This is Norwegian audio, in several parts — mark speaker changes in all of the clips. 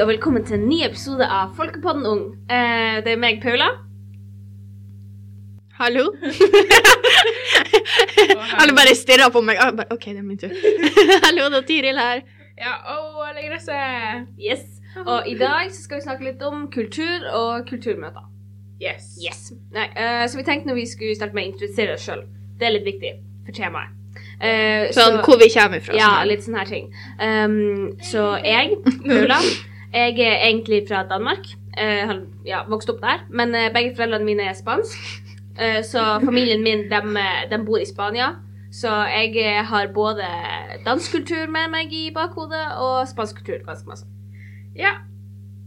Speaker 1: og velkommen til en ny episode av Folkepodden Ung. Eh, det er meg, Paula.
Speaker 2: Hallo? Alle bare stirrer på meg. Ah, bare, OK, det er min tur. Hallo, det er Tiril her.
Speaker 3: Ja, å, eller gresset!
Speaker 1: Yes. Og i dag så skal vi snakke litt om kultur og kulturmøter.
Speaker 3: Yes.
Speaker 1: Yes. Nei, eh, så vi tenkte når vi skulle starte med å introdusere oss sjøl. Det er litt viktig for temaet. Eh,
Speaker 2: Sånn hvor vi kommer fra.
Speaker 1: Ja,
Speaker 2: sånn.
Speaker 1: litt sånne her ting. Ehm, så jeg, Paula, jeg er egentlig fra Danmark. Eh, har- ja, vokst opp der. Men eh, begge foreldrene mine er spansk. Eh, så familien min, dem, eh, dem bor i Spania. Så jeg eh, har både dansk kultur med meg i bakhodet, og spansk kultur ganske masse.
Speaker 3: Ja.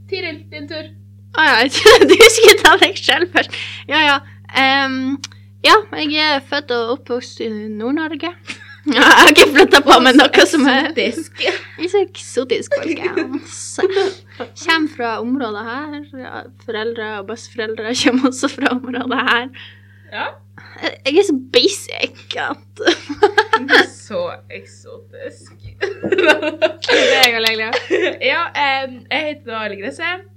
Speaker 3: Tiril, din tur.
Speaker 2: Ah, ja. Du skulle ta deg selv først. Ja, ja. Em, ja, jeg er født og oppvokst i Nord-Norge. Ja, jeg har ikke flytta på meg noe som er
Speaker 3: Disk.
Speaker 2: Ikke så eksotisk, folkens. Kjem fra området her. Ja, Foreldre og besteforeldre kommer også fra området her.
Speaker 3: Ja.
Speaker 2: Jeg- Jeg er så basic at
Speaker 3: Så eksotisk.
Speaker 1: Det er jeg og Leila.
Speaker 3: ja, em, jeg heter da Alle Gresset.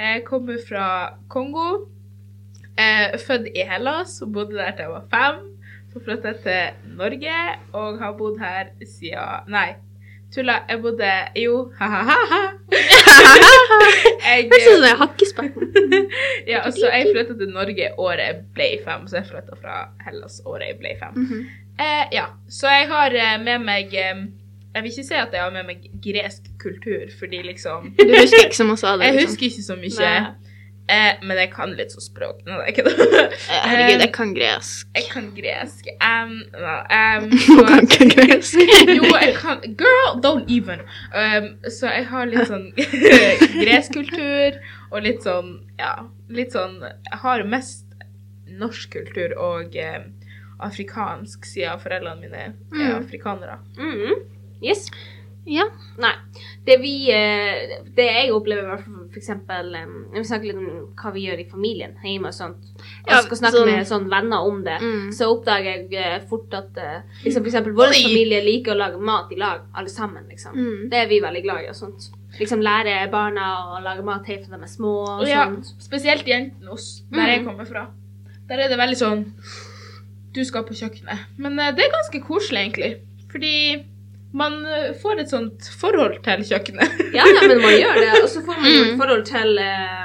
Speaker 3: Jeg kommer fra Kongo. Eh, født i Hellas og bodde der til jeg var fem. Så flyttet jeg til Norge og har bodd her siden Nei, tulla. Jeg bodde Jo, ha-ha-ha.
Speaker 2: Høres ut som en hakkespetten.
Speaker 3: Ja, altså, jeg flytta til Norge året jeg ble fem, så jeg flytta fra Hellas året jeg ble fem.
Speaker 2: Mhm.
Speaker 3: Eh, ja, Så jeg har eh, med meg eh, Jeg vil ikke si at jeg har med meg gresk kultur, fordi liksom
Speaker 2: Du husker ikke som hun sa det?
Speaker 3: Jeg
Speaker 2: liksom.
Speaker 3: husker ikke så mye,
Speaker 1: Nei.
Speaker 3: eh, men jeg kan litt så språk. Nei, det er ikke det.
Speaker 2: Eh, Herregud, jeg kan gresk.
Speaker 3: Jeg kan gresk. Um, nei, um,
Speaker 2: Hun
Speaker 3: så-
Speaker 2: kan ikke gresk.
Speaker 3: jo, jeg kan Girl, don't even! Um, så jeg har litt sånn gresk kultur og litt sånn Ja, litt sånn Jeg har mest norsk kultur og eh, afrikansk, siden foreldrene mine er
Speaker 2: Mm.
Speaker 3: afrikanere.
Speaker 1: Mhm. Yes.
Speaker 2: Ja.
Speaker 1: Nei. Det vi eh, Det jeg opplever, i hvert fall for eksempel eh, Når vi snakker litt om hva vi gjør i familien hjemme og sånt, og
Speaker 2: Ja,
Speaker 1: skal snakke
Speaker 2: sånn-
Speaker 1: med sånn venner om det,
Speaker 2: Mm.
Speaker 1: så oppdager jeg eh, fort at eh, liksom, for eksempel vår
Speaker 3: Oi.
Speaker 1: familie liker å lage mat i lag, alle sammen, liksom.
Speaker 2: Mm.
Speaker 1: Det er vi veldig glad i og sånt. Liksom lære barna å lage mat helt fra de er små og
Speaker 3: ja,
Speaker 1: sånt.
Speaker 3: spesielt jentene hos der jeg
Speaker 1: Mm.
Speaker 3: kommer fra. Der er det veldig sånn Du skal på kjøkkenet. Men eh, det er ganske koselig, egentlig. Fordi man eh, får et sånt forhold til kjøkkenet.
Speaker 1: Ja, ja, men man gjør det. Og så får man jo et
Speaker 2: Mm.
Speaker 1: forhold til eh,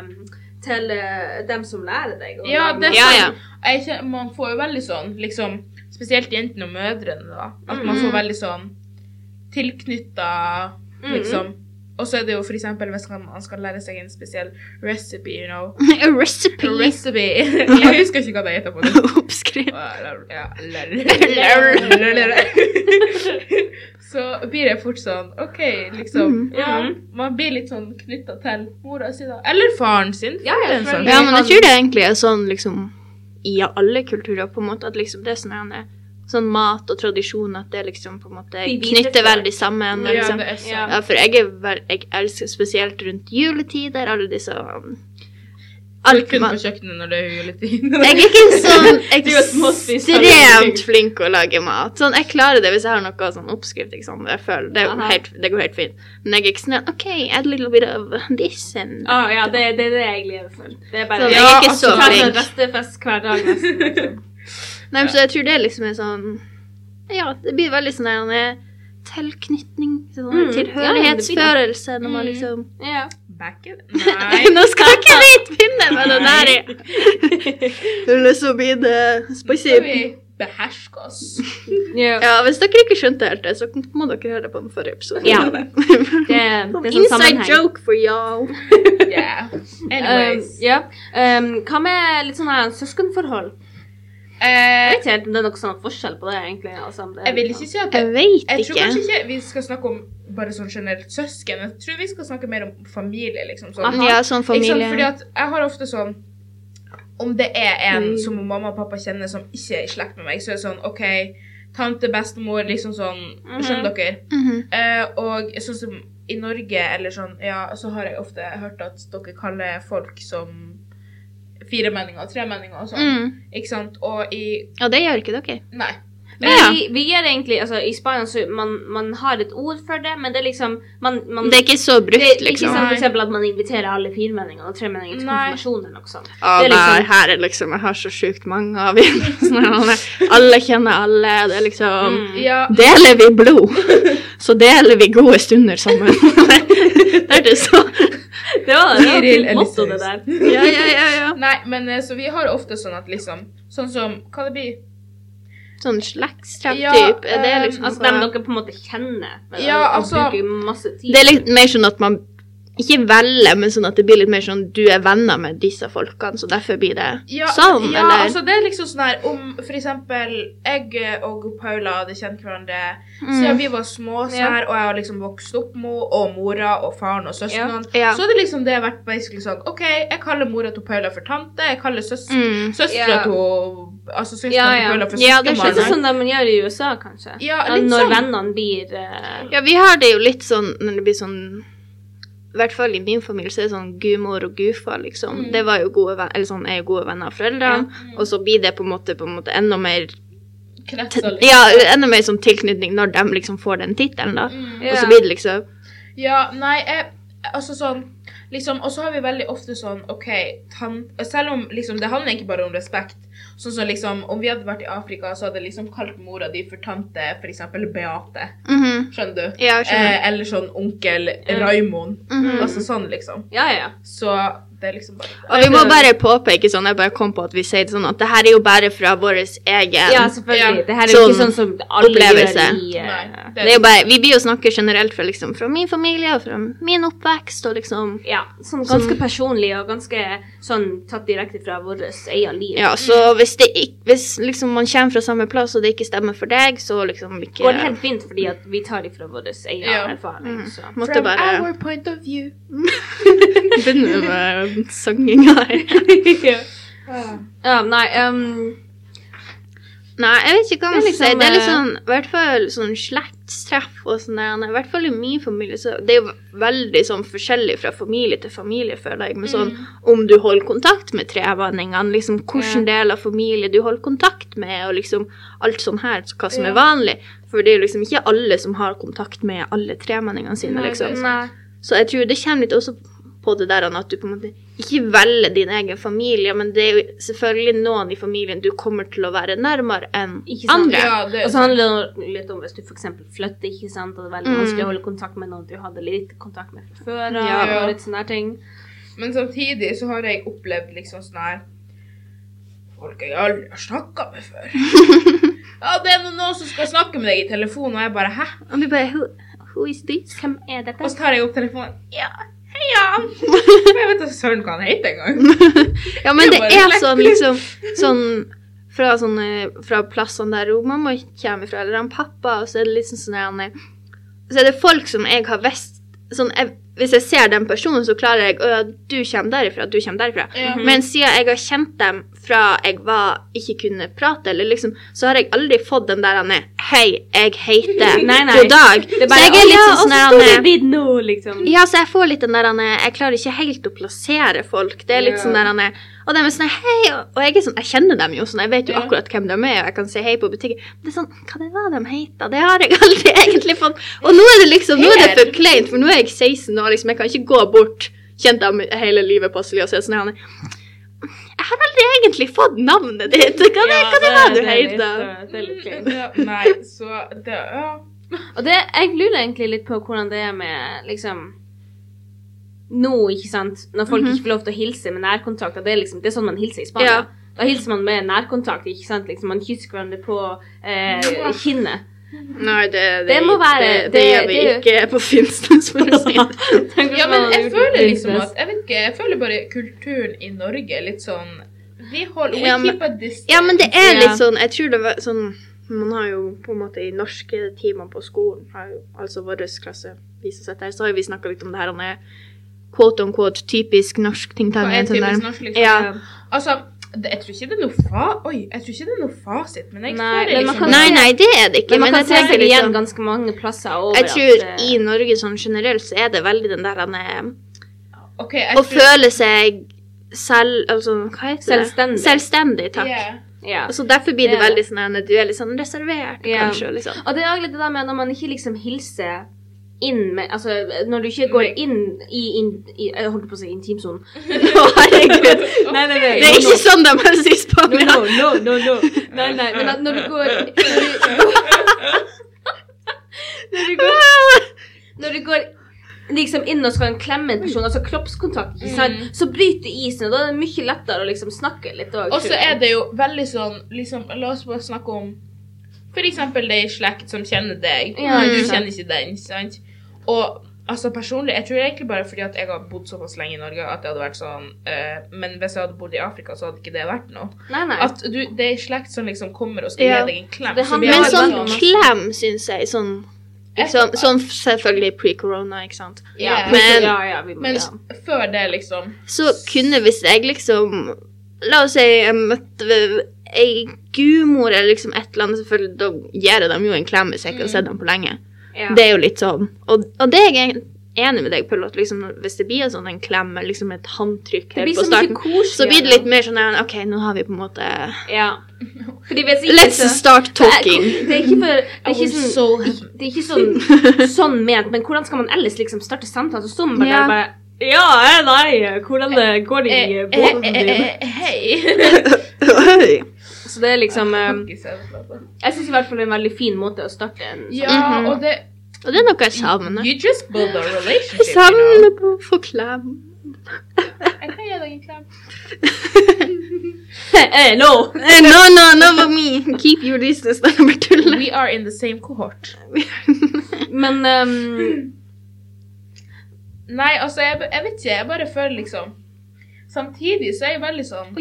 Speaker 1: til eh, dem som lærer deg å
Speaker 3: Ja,
Speaker 1: lage
Speaker 3: det er
Speaker 1: mat.
Speaker 2: Ja, ja.
Speaker 3: sant. Jeg kjen- man får jo veldig sånn, liksom, spesielt jentene og mødrene, da, at man
Speaker 2: Mhm.
Speaker 3: får veldig sånn tilknytta,
Speaker 1: Mhm.
Speaker 3: liksom. Og så er det jo for eksempel hvis man, man skal lære seg en spesiell recipe, you know.
Speaker 2: A recipe.
Speaker 3: Recipe. Jeg husker ikke hva det heter på det.
Speaker 2: Oppskrift.
Speaker 3: Ja, lær.
Speaker 2: Lær.
Speaker 3: Lær, lær. Så blir det fort sånn OK, liksom.
Speaker 2: Mhm.
Speaker 3: Ja, man blir litt sånn knytta til mora si, da. Eller faren sin.
Speaker 1: Ja, ja,
Speaker 3: for den
Speaker 1: selvfølgelig.
Speaker 2: Ja, men jeg tror det egentlig er sånn liksom i alle kulturer, på en måte, at liksom det er sånn her, sånn mat og tradisjon, at det liksom på en måte
Speaker 1: Vi viderefører.
Speaker 2: knytter veldig sammen.
Speaker 3: saks. Ja,
Speaker 2: Liksom.
Speaker 3: det er sant.
Speaker 1: Ja.
Speaker 2: Ja, for jeg, er, vel- jeg elsker spesielt rundt juletider, alle disse um,
Speaker 3: Alt
Speaker 2: Alt
Speaker 3: kun på
Speaker 2: mat.
Speaker 3: kjøkkenet når det er juletid.
Speaker 2: Jeg er ikke sånn
Speaker 3: Du er småspist, alle
Speaker 2: ekstremt
Speaker 3: ting.
Speaker 2: flink å lage mat. Sånn, jeg klarer det hvis jeg har noe sånn oppskrift. Ikke sant? Jeg føler, det, er jo
Speaker 1: Aha.
Speaker 2: helt, det går helt fint. Men jeg er ikke sånn OK, add a little bit of this and
Speaker 1: Ah, ja, det, det er det jeg lever for. Det er bare
Speaker 2: Sånn,
Speaker 1: ja,
Speaker 2: jeg er ikke så
Speaker 1: altså, ta sånn
Speaker 2: flink.
Speaker 1: restefest hver dag. nesten, liksom.
Speaker 2: Nei, men så jeg tror det liksom er sånn Ja, det blir veldig sånn der en tilknytning, sånn
Speaker 1: Mm,
Speaker 2: tilhørighetsfølelse når man
Speaker 3: Mm.
Speaker 2: liksom
Speaker 1: Ja.
Speaker 3: Back it?
Speaker 2: Nei,
Speaker 3: Nei.
Speaker 2: nå skal ikke vi begynne med det der. Eller så eh, blir det
Speaker 3: Skal vi beherske oss?
Speaker 1: Ja.
Speaker 2: Ja, hvis dere ikke skjønte helt det, så må dere høre på den forrige episoden.
Speaker 1: Ja. Det, det er sånn
Speaker 2: Inside
Speaker 1: sammenheng.
Speaker 2: joke for y'all.
Speaker 3: Yeah.
Speaker 1: Um,
Speaker 3: Anyways.
Speaker 1: ja. um, hva med litt sånn her søskenforhold? Jeg
Speaker 3: Eh,
Speaker 1: vet ikke helt om det er noe sånn forskjell på det, egentlig. Altså, om det, er-
Speaker 3: jeg vil ikke si at det
Speaker 2: Jeg veit
Speaker 3: Jeg tror
Speaker 2: ikke.
Speaker 3: kanskje ikke vi skal snakke om bare sånn generelt søsken. Jeg tror vi skal snakke mer om familie, liksom. Sånn.
Speaker 1: Aha.
Speaker 2: Ja, sånn
Speaker 3: Ikke sant? Fordi
Speaker 2: familie.
Speaker 3: at jeg har ofte sånn Om det er en
Speaker 2: Mm.
Speaker 3: som mamma og pappa kjenner som ikke er i slekt med meg, så er det sånn OK, tante, bestemor, liksom sånn Skjønner dere?
Speaker 2: Mhm.
Speaker 3: Eh, og sånn som i Norge, eller sånn, ja, så har jeg ofte hørt at dere kaller folk som firemenninger og tremenninger og sånn.
Speaker 2: Mm.
Speaker 3: Ikke sant? Og i
Speaker 2: Og det gjør ikke dere.
Speaker 3: Nei.
Speaker 1: Vi,
Speaker 2: Ja.
Speaker 1: vi gjør egentlig altså, I Spania så man, man har et ord for det, men det er liksom man, man,
Speaker 2: Det er ikke så
Speaker 1: det er
Speaker 2: brukt,
Speaker 1: ikke
Speaker 2: liksom.
Speaker 1: sånn
Speaker 3: Nei.
Speaker 1: for eksempel at man inviterer alle firmenninger og tremenninger til
Speaker 3: Nei.
Speaker 1: konfirmasjon eller noe sånt.
Speaker 2: Å
Speaker 1: Det er liksom-
Speaker 2: nei, her er liksom Jeg har så sjukt mange av dem. Sånn Alle kjenner alle. Det er liksom
Speaker 1: Mm.
Speaker 3: Ja,
Speaker 2: Deler vi blod, så deler vi gode stunder sammen. det er det så
Speaker 1: Det var det var et
Speaker 3: Tiril
Speaker 1: fint motto, det
Speaker 3: Elisøs.
Speaker 1: der.
Speaker 2: Ja, ja, ja. ja.
Speaker 3: Nei, men eh, så vi har ofte sånn at liksom Sånn som Hva det blir
Speaker 2: Sånn slektstreff
Speaker 3: Ja,
Speaker 2: type. det er
Speaker 3: eh,
Speaker 2: liksom
Speaker 1: Altså dem dere på en måte kjenner. men-
Speaker 3: Ja,
Speaker 1: og
Speaker 3: altså-
Speaker 1: bruker masse tid.
Speaker 2: Det er litt mer sånn at man ikke velger, men sånn at det blir litt mer sånn du er venner med disse folkene, så derfor blir det
Speaker 3: Ja,
Speaker 2: sånn,
Speaker 3: ja
Speaker 2: eller?
Speaker 3: altså det er liksom sånn her Om for eksempel jeg og Paula hadde kjent hverandre siden
Speaker 2: mm.
Speaker 3: vi var små, sånn
Speaker 1: Ja.
Speaker 3: her, og jeg har liksom vokst opp med henne, og mora og faren og søsknene,
Speaker 2: Mm. Ja. Ja.
Speaker 3: så hadde liksom det vært basically sånn OK, jeg kaller mora til Paula for tante, jeg kaller søs
Speaker 2: Mm.
Speaker 3: søstera
Speaker 1: Ja.
Speaker 3: til Altså søstera
Speaker 1: Ja,
Speaker 3: til
Speaker 1: ja.
Speaker 3: Paula for
Speaker 2: Ja, det
Speaker 1: Litt
Speaker 2: skjønner
Speaker 3: søskenbarnet.
Speaker 1: sånn som de gjør i USA, kanskje.
Speaker 3: Ja,
Speaker 1: Ja,
Speaker 3: litt
Speaker 1: når
Speaker 3: sånn.
Speaker 1: vennene blir eh,
Speaker 2: ja, vi har det jo litt sånn når det blir sånn i hvert fall i min familie så er det sånn gudmor og gudfar, liksom.
Speaker 3: Mm.
Speaker 2: Det var jo gode venner, eller sånn, er jo gode venner av foreldrene. Og så blir det på en måte, på en måte enda mer
Speaker 3: Kretser
Speaker 2: t-
Speaker 3: litt.
Speaker 2: Ja, enda mer sånn tilknytning når de liksom får den tittelen, da.
Speaker 3: Mm.
Speaker 2: Og så
Speaker 1: Ja.
Speaker 2: blir det liksom
Speaker 3: Ja, nei, jeg, altså sånn liksom, Og så har vi veldig ofte sånn OK, tan, selv om liksom, det handler egentlig bare om respekt. Sånn som liksom, Om vi hadde vært i Afrika, så hadde jeg liksom kalt mora di for tante for eksempel Beate.
Speaker 2: mhm.
Speaker 3: Skjønner du?
Speaker 2: Ja, jeg skjønner.
Speaker 3: Mm-hmm. Eh, eller sånn onkel Raimond.
Speaker 2: Mhm.
Speaker 3: Altså sånn, liksom.
Speaker 1: Ja, ja.
Speaker 3: Så det er liksom bare
Speaker 2: Og vi må bare påpeke sånn, jeg bare kom på at vi sier det sånn, at det her er jo bare fra vår egen
Speaker 1: Ja, selvfølgelig.
Speaker 3: Ja.
Speaker 1: Det her er jo ikke
Speaker 2: Sånn
Speaker 1: sånn som alle
Speaker 2: opplevelse.
Speaker 1: gjør i eh,
Speaker 3: Nei, sånn.
Speaker 2: Det er jo bare, vi blir jo snakker generelt fra, liksom, fra min familie og fra min oppvekst og liksom
Speaker 1: Ja, sånn ganske personlig og ganske sånn tatt direkte fra vårt eget liv.
Speaker 2: Ja, så
Speaker 1: Mm.
Speaker 2: hvis, det ikke, hvis liksom man kommer fra samme plass og det ikke stemmer for deg, så liksom ikke
Speaker 1: Går det helt fint fordi at vi tar det fra vår egen
Speaker 3: Ja. Mm.
Speaker 1: erfaring. Så.
Speaker 2: Måtte bare
Speaker 3: point of view.
Speaker 2: begynne med sanginga her.
Speaker 3: Ah.
Speaker 1: Ja, nei, ehm,
Speaker 2: Nei, jeg vet ikke hva man
Speaker 1: Det er
Speaker 2: skal si.
Speaker 1: liksom,
Speaker 2: Det er litt
Speaker 1: eh,
Speaker 2: sånn, i hvert fall sånn slektstreff og sånn der. I hvert fall i min familie, så det er jo veldig sånn forskjellig fra familie til familie, føler jeg. Men sånn om du holder kontakt med trevanningene, liksom hvilken del av familie du holder kontakt med, og liksom alt sånn her, så hva som
Speaker 3: Ja.
Speaker 2: er vanlig. For det er jo liksom ikke alle som har kontakt med alle tremanningene sine,
Speaker 3: Nei,
Speaker 2: liksom.
Speaker 3: det er
Speaker 1: nei.
Speaker 2: Så jeg tror det kommer litt også på det der Anna, at du på en måte ikke velger din egen familie, men det er jo selvfølgelig noen i familien du kommer til å være nærmere enn
Speaker 1: Ikke sant?
Speaker 2: andre.
Speaker 3: Ja, det
Speaker 1: Og så handler det litt om hvis du f.eks. flytter, ikke sant, og det er veldig
Speaker 2: Mm.
Speaker 1: vanskelig å holde kontakt med noen du hadde litt kontakt med fra før av,
Speaker 2: Ja.
Speaker 1: og litt sånne her ting.
Speaker 3: Men samtidig så har jeg opplevd liksom sånn her Folk jeg aldri har snakka med før. ja, det er noen som skal snakke med deg i telefonen, og jeg bare hæ?
Speaker 2: Og du bare who, who is this?
Speaker 1: Hvem er dette?
Speaker 3: Og så tar jeg opp telefonen. Ja, hei, Jan. For jeg vet da søren hva han heter engang.
Speaker 2: Ja, men
Speaker 3: Det
Speaker 2: det
Speaker 3: var
Speaker 2: er
Speaker 3: litt
Speaker 2: sånn liksom sånn fra, sånne, fra plassene der hun mamma kommer fra, eller han pappa, og så er det liksom sånn der, han er- Så er det folk som jeg har visst sånn, jeg, Hvis jeg ser den personen, så klarer jeg Å ja, du kommer derifra, du kommer derifra.
Speaker 3: Ja.
Speaker 1: Mhm.
Speaker 2: Men siden jeg har kjent dem fra jeg var ikke kunne prate, eller liksom, så har jeg aldri fått den der han er Hei, jeg heter
Speaker 1: Nei, nei.
Speaker 2: God dag.
Speaker 1: Det er
Speaker 2: så
Speaker 1: bare,
Speaker 2: jeg er litt
Speaker 1: «Å, ja,
Speaker 2: sånn
Speaker 1: og
Speaker 2: sånn
Speaker 1: så
Speaker 2: der
Speaker 1: står
Speaker 2: han
Speaker 1: det
Speaker 2: er
Speaker 1: vidd nå, liksom.
Speaker 2: ja, så jeg får litt den der han er Jeg klarer ikke helt å plassere folk. Det er litt
Speaker 3: Ja.
Speaker 2: sånn der han er Og de er sånn Hei! Og jeg er sånn Jeg kjenner dem jo sånn. Jeg vet jo
Speaker 3: Ja.
Speaker 2: akkurat hvem de er, og jeg kan si hei på butikken. Men det er sånn Hva det var de heter? Det har jeg aldri egentlig fått Og nå er det liksom Nå er det for kleint, for nå er jeg 16 år, liksom. Jeg kan ikke gå bort, kjent dem hele livet passelig, og så er det sånn han er Jeg har aldri egentlig fått navnet ditt. Hva, det, hva det var du
Speaker 1: heter?
Speaker 2: heter?
Speaker 1: Det er litt kleint.
Speaker 3: Ja, Nei, så det Ja.
Speaker 1: Og det, jeg lurer egentlig litt på hvordan det er med liksom Nå, ikke sant, når folk ikke får lov til å hilse med nærkontakt, og det er liksom, det er sånn man hilser i Spania.
Speaker 2: Ja.
Speaker 1: Da hilser man med nærkontakt, ikke sant? Liksom, man kysser hverandre på eh, kinnet.
Speaker 2: Nei, det,
Speaker 1: Det må være-
Speaker 2: det, det gjør
Speaker 1: det-
Speaker 2: vi
Speaker 1: det-
Speaker 2: ikke på Finnsnes, for å si det.
Speaker 1: Tenk hvis
Speaker 3: ja,
Speaker 1: man
Speaker 3: men
Speaker 1: hadde
Speaker 3: jeg
Speaker 1: gjort det
Speaker 3: føler
Speaker 1: på
Speaker 3: liksom
Speaker 1: business.
Speaker 3: at Jeg vet ikke, jeg føler bare kulturen i Norge er litt sånn Vi holder
Speaker 2: Ja,
Speaker 3: We
Speaker 2: men-
Speaker 3: keep a distance.
Speaker 2: Ja, men det er
Speaker 1: Ja.
Speaker 2: litt sånn Jeg tror det var sånn Man har jo på en måte i norske timer på skolen har jo, Altså vår klasse viser seg der, så har jo vi snakka litt om det her om det er quote on quote typisk norsk ting.
Speaker 3: Hva er typisk norsk, liksom?
Speaker 2: Ja.
Speaker 3: Altså, det, jeg tror ikke det er noe fa... Oi, jeg tror ikke det er noe fasit, men jeg
Speaker 1: Nei, men
Speaker 3: føler
Speaker 1: man
Speaker 3: liksom
Speaker 1: kan-
Speaker 2: Nei, nei, det er det ikke.
Speaker 1: Men man
Speaker 2: Men
Speaker 1: kan
Speaker 2: jeg
Speaker 1: se
Speaker 2: tenker
Speaker 1: det igjen
Speaker 2: liksom
Speaker 1: ganske mange plasser over
Speaker 2: Jeg tror
Speaker 1: at, eh,
Speaker 2: i Norge sånn generelt så er det veldig den der han eh, er
Speaker 3: Ok, jeg
Speaker 2: Å føle seg selv... Altså, hva heter det?
Speaker 1: Selvstendig.
Speaker 2: Selvstendig, takk.
Speaker 3: Yeah.
Speaker 1: Ja.
Speaker 2: Så derfor blir det
Speaker 1: Det er
Speaker 2: veldig sånn her, du er litt sånn reservert,
Speaker 1: Ja.
Speaker 2: kanskje. og Liksom.
Speaker 1: Og det er også litt det der med når man ikke liksom hilser inn med Altså når du ikke går inn i, inn, i Jeg holdt på å si intimsonen.
Speaker 2: Å, herregud.
Speaker 1: Nei, nei, nei.
Speaker 2: Det er ikke sånn de helst i
Speaker 1: No,
Speaker 2: Spania.
Speaker 1: no, no, no, no. Nei, nei, men at når du går Når du går, når du går liksom inn og skal klemme en person, altså kroppskontakt, ikke sant?
Speaker 3: Mm.
Speaker 1: så bryter isen, og da er det mye lettere å liksom snakke litt òg.
Speaker 3: Og så er det jo veldig sånn liksom, La oss bare snakke om for eksempel det i slekt som kjenner deg.
Speaker 1: Ja,
Speaker 3: du
Speaker 1: ikke sant.
Speaker 3: kjenner ikke den, sant? Og altså personlig, jeg tror egentlig bare fordi at jeg har bodd såpass lenge i Norge at det hadde vært sånn eh, Men hvis jeg hadde bodd i Afrika, så hadde ikke det vært noe.
Speaker 1: Nei, nei.
Speaker 3: At du, det er ei slekt som liksom kommer og skal
Speaker 2: Ja.
Speaker 3: gi deg en klem.
Speaker 1: Det
Speaker 3: så blir
Speaker 1: handler
Speaker 2: Men
Speaker 3: jeg
Speaker 2: sånn
Speaker 1: Ja.
Speaker 3: sånn-
Speaker 2: klem, syns jeg. Sånn, liksom, sånn selvfølgelig pre-corona, ikke sant.
Speaker 1: ja,
Speaker 3: Ja.
Speaker 2: men-
Speaker 1: ja, ja, vi må,
Speaker 3: Men
Speaker 1: ja.
Speaker 3: s- før det, liksom
Speaker 2: Så kunne hvis jeg liksom La oss si jeg møtte ved- ei gudmor eller liksom et eller annet, selvfølgelig, da gir jeg dem jo en klem hvis jeg ikke har sett dem på lenge.
Speaker 1: Ja.
Speaker 2: Det er jo litt sånn. Og, og det er jeg en- enig med deg, Pull, at liksom, når- hvis det blir en sånn en klem eller liksom et håndtrykk
Speaker 1: Det
Speaker 2: her
Speaker 1: blir sånn
Speaker 2: på
Speaker 1: så mye
Speaker 2: starten,
Speaker 1: koselig.
Speaker 2: så blir det litt mer sånn ja, OK, nå har vi på en måte
Speaker 1: Ja. Fordi hvis ikke
Speaker 2: Let's
Speaker 1: så-
Speaker 2: start talking.
Speaker 1: Det er ikke for Det er
Speaker 3: I
Speaker 1: ikke
Speaker 3: was
Speaker 1: sånn,
Speaker 3: so happy.
Speaker 1: det er ikke sånn, sånn ment, men hvordan skal man ellers liksom starte samtalen? Så står man bare
Speaker 2: Ja.
Speaker 1: der og bare Ja, eh, nei, hvordan det går det
Speaker 3: Eh,
Speaker 1: i
Speaker 3: eh,
Speaker 1: båten
Speaker 3: eh,
Speaker 1: din?
Speaker 3: eh, Hei!
Speaker 2: Oi.
Speaker 1: Så det er liksom eh,
Speaker 3: Ikke se det, altså.
Speaker 1: Jeg syns i hvert fall det er en veldig fin måte å starte en sånn-
Speaker 3: Ja, og det
Speaker 2: Og det er noe jeg savner.
Speaker 3: You just build a
Speaker 2: Jeg
Speaker 3: relationship, you know.
Speaker 2: savner på å få klem.
Speaker 3: Jeg kan gi deg en klem.
Speaker 1: Eh, No!
Speaker 2: Eh, No, no, no for me. Keep your distance. Det er bare tull.
Speaker 3: We are in the same cohort.
Speaker 1: Men ehm,
Speaker 3: Nei, altså, jeg, jeg vet ikke. Jeg bare føler liksom Samtidig så er jeg veldig sånn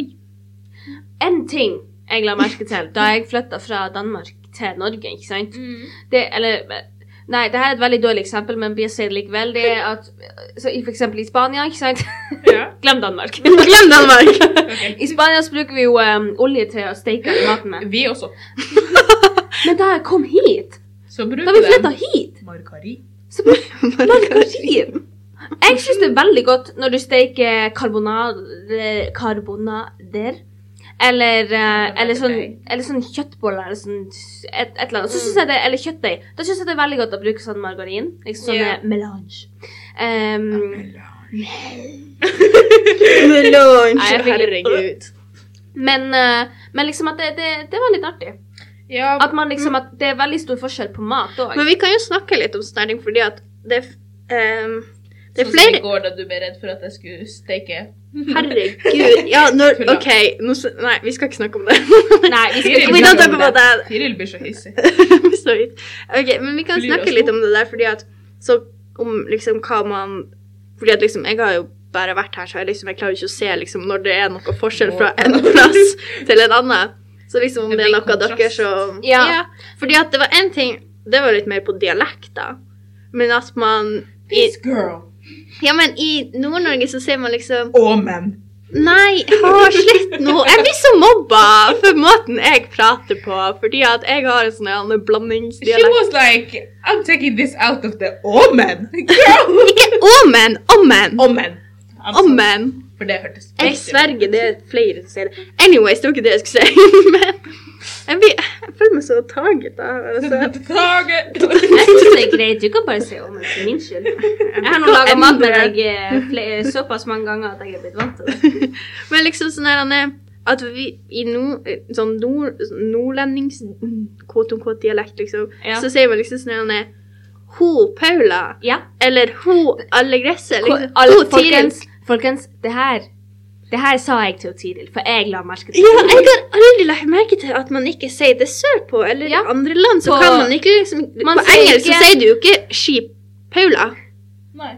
Speaker 1: en ting jeg la merke til da jeg flytta fra Danmark til Norge, ikke sant
Speaker 3: mm,
Speaker 1: det, eller, Nei, det her er et veldig dårlig eksempel, men jeg sier det likevel. Det er at eh, så, i- For eksempel i Spania, ikke sant?
Speaker 3: Ja.
Speaker 1: Glem Danmark.
Speaker 2: Glem Danmark.
Speaker 3: ok.
Speaker 1: I Spania så bruker vi jo em, olje til å steke all maten med.
Speaker 3: Vi også.
Speaker 1: Men da jeg kom hit,
Speaker 3: Så
Speaker 1: da
Speaker 3: bruker
Speaker 1: vi flytta
Speaker 3: den
Speaker 1: hit,
Speaker 3: margarin.
Speaker 1: så brukte margarin. Jeg syns det er veldig godt når du steker karbonader, karbonader eller, eh, eller, sånn, eller sånn kjøttboller eller sånn et, et eller annet. Så synes jeg det, eller kjøttdeig. Da syns jeg det er veldig godt å bruke sånn margarin. Liksom sånn
Speaker 3: Ja.
Speaker 1: eh, melange. Em,
Speaker 2: Melange.
Speaker 1: Nei, jeg fikk-
Speaker 2: Herregud.
Speaker 1: men, eh, men liksom at det, det, det var litt artig.
Speaker 3: Ja,
Speaker 1: At man liksom, at det er veldig stor forskjell på mat òg.
Speaker 2: Men vi kan jo snakke litt om snerding, fordi at det er f- ehm, det
Speaker 3: sånn
Speaker 2: er
Speaker 3: som i
Speaker 2: flere
Speaker 3: går da du ble redd for at jeg skulle steke
Speaker 2: Herregud. Ja, når
Speaker 3: Tulla.
Speaker 2: OK. Nå, s- nei, vi skal ikke snakke om det.
Speaker 1: Nei, vi skal
Speaker 3: Vi
Speaker 1: ikke
Speaker 2: We don't
Speaker 1: snakke
Speaker 2: talk
Speaker 1: om det.
Speaker 2: about that.
Speaker 3: Tiril blir så hissig.
Speaker 2: Sorry. OK, men vi kan
Speaker 3: Blir
Speaker 2: snakke
Speaker 3: det
Speaker 2: litt
Speaker 3: sånn?
Speaker 2: om det der, fordi at Så om liksom hva man Fordi at liksom Jeg har jo bare vært her, så jeg liksom Jeg klarer jo ikke å se liksom når det er noe forskjell fra en plass til en annen. Så liksom om
Speaker 3: Det
Speaker 2: det er
Speaker 3: blir
Speaker 2: noe dere
Speaker 3: kontrast.
Speaker 2: som
Speaker 1: Ja.
Speaker 2: Fordi at det var én ting Det var litt mer på dialekter, men at man i,
Speaker 3: This girl.
Speaker 2: Ja, men i Nord-Norge så ser man liksom
Speaker 3: Og menn.
Speaker 2: Nei, ha slett nå. Jeg blir så mobba for måten jeg prater på, fordi at jeg har en sånn en
Speaker 3: She
Speaker 2: blandingsdialekt.
Speaker 3: was like I'm taking this out of the omen. Girl!
Speaker 2: Ikke omen, omen,
Speaker 3: Omen. I'm sorry,
Speaker 2: omen.
Speaker 3: For det hørtes
Speaker 2: Jeg
Speaker 3: riktig ut.
Speaker 2: sverger det er flere som sier det. Anyways, det var ikke det jeg skulle si. Men jeg, blir, jeg føler meg så taget av altså.
Speaker 3: Target.
Speaker 1: Jeg synes det er greit. Du kan bare si om det for min skyld. Jeg har nå laga mat med deg eh, fle- såpass mange ganger at jeg er blitt vant til det.
Speaker 2: Men liksom sånn her Anne, at vi i no, sånn nord, nordlendings quote unquote dialekt, liksom,
Speaker 1: Ja.
Speaker 2: så sier man liksom sånn her Anne, Ho Paula,
Speaker 1: Ja.
Speaker 2: eller ho Allegresse, liksom.
Speaker 1: Alle,
Speaker 2: ho Tiril.
Speaker 1: folkens, folkens, det her Det her sa jeg til Tiril, for jeg la merke til
Speaker 2: Ja,
Speaker 1: det.
Speaker 2: jeg har aldri lagt merke til at man ikke sier det sørpå, eller
Speaker 1: Ja.
Speaker 2: i andre land, så
Speaker 1: På-
Speaker 2: kan man ikke liksom
Speaker 1: Man
Speaker 2: På
Speaker 1: sier
Speaker 2: engelsk så
Speaker 1: ikke-
Speaker 2: sier du jo ikke She Paula.
Speaker 3: Nei.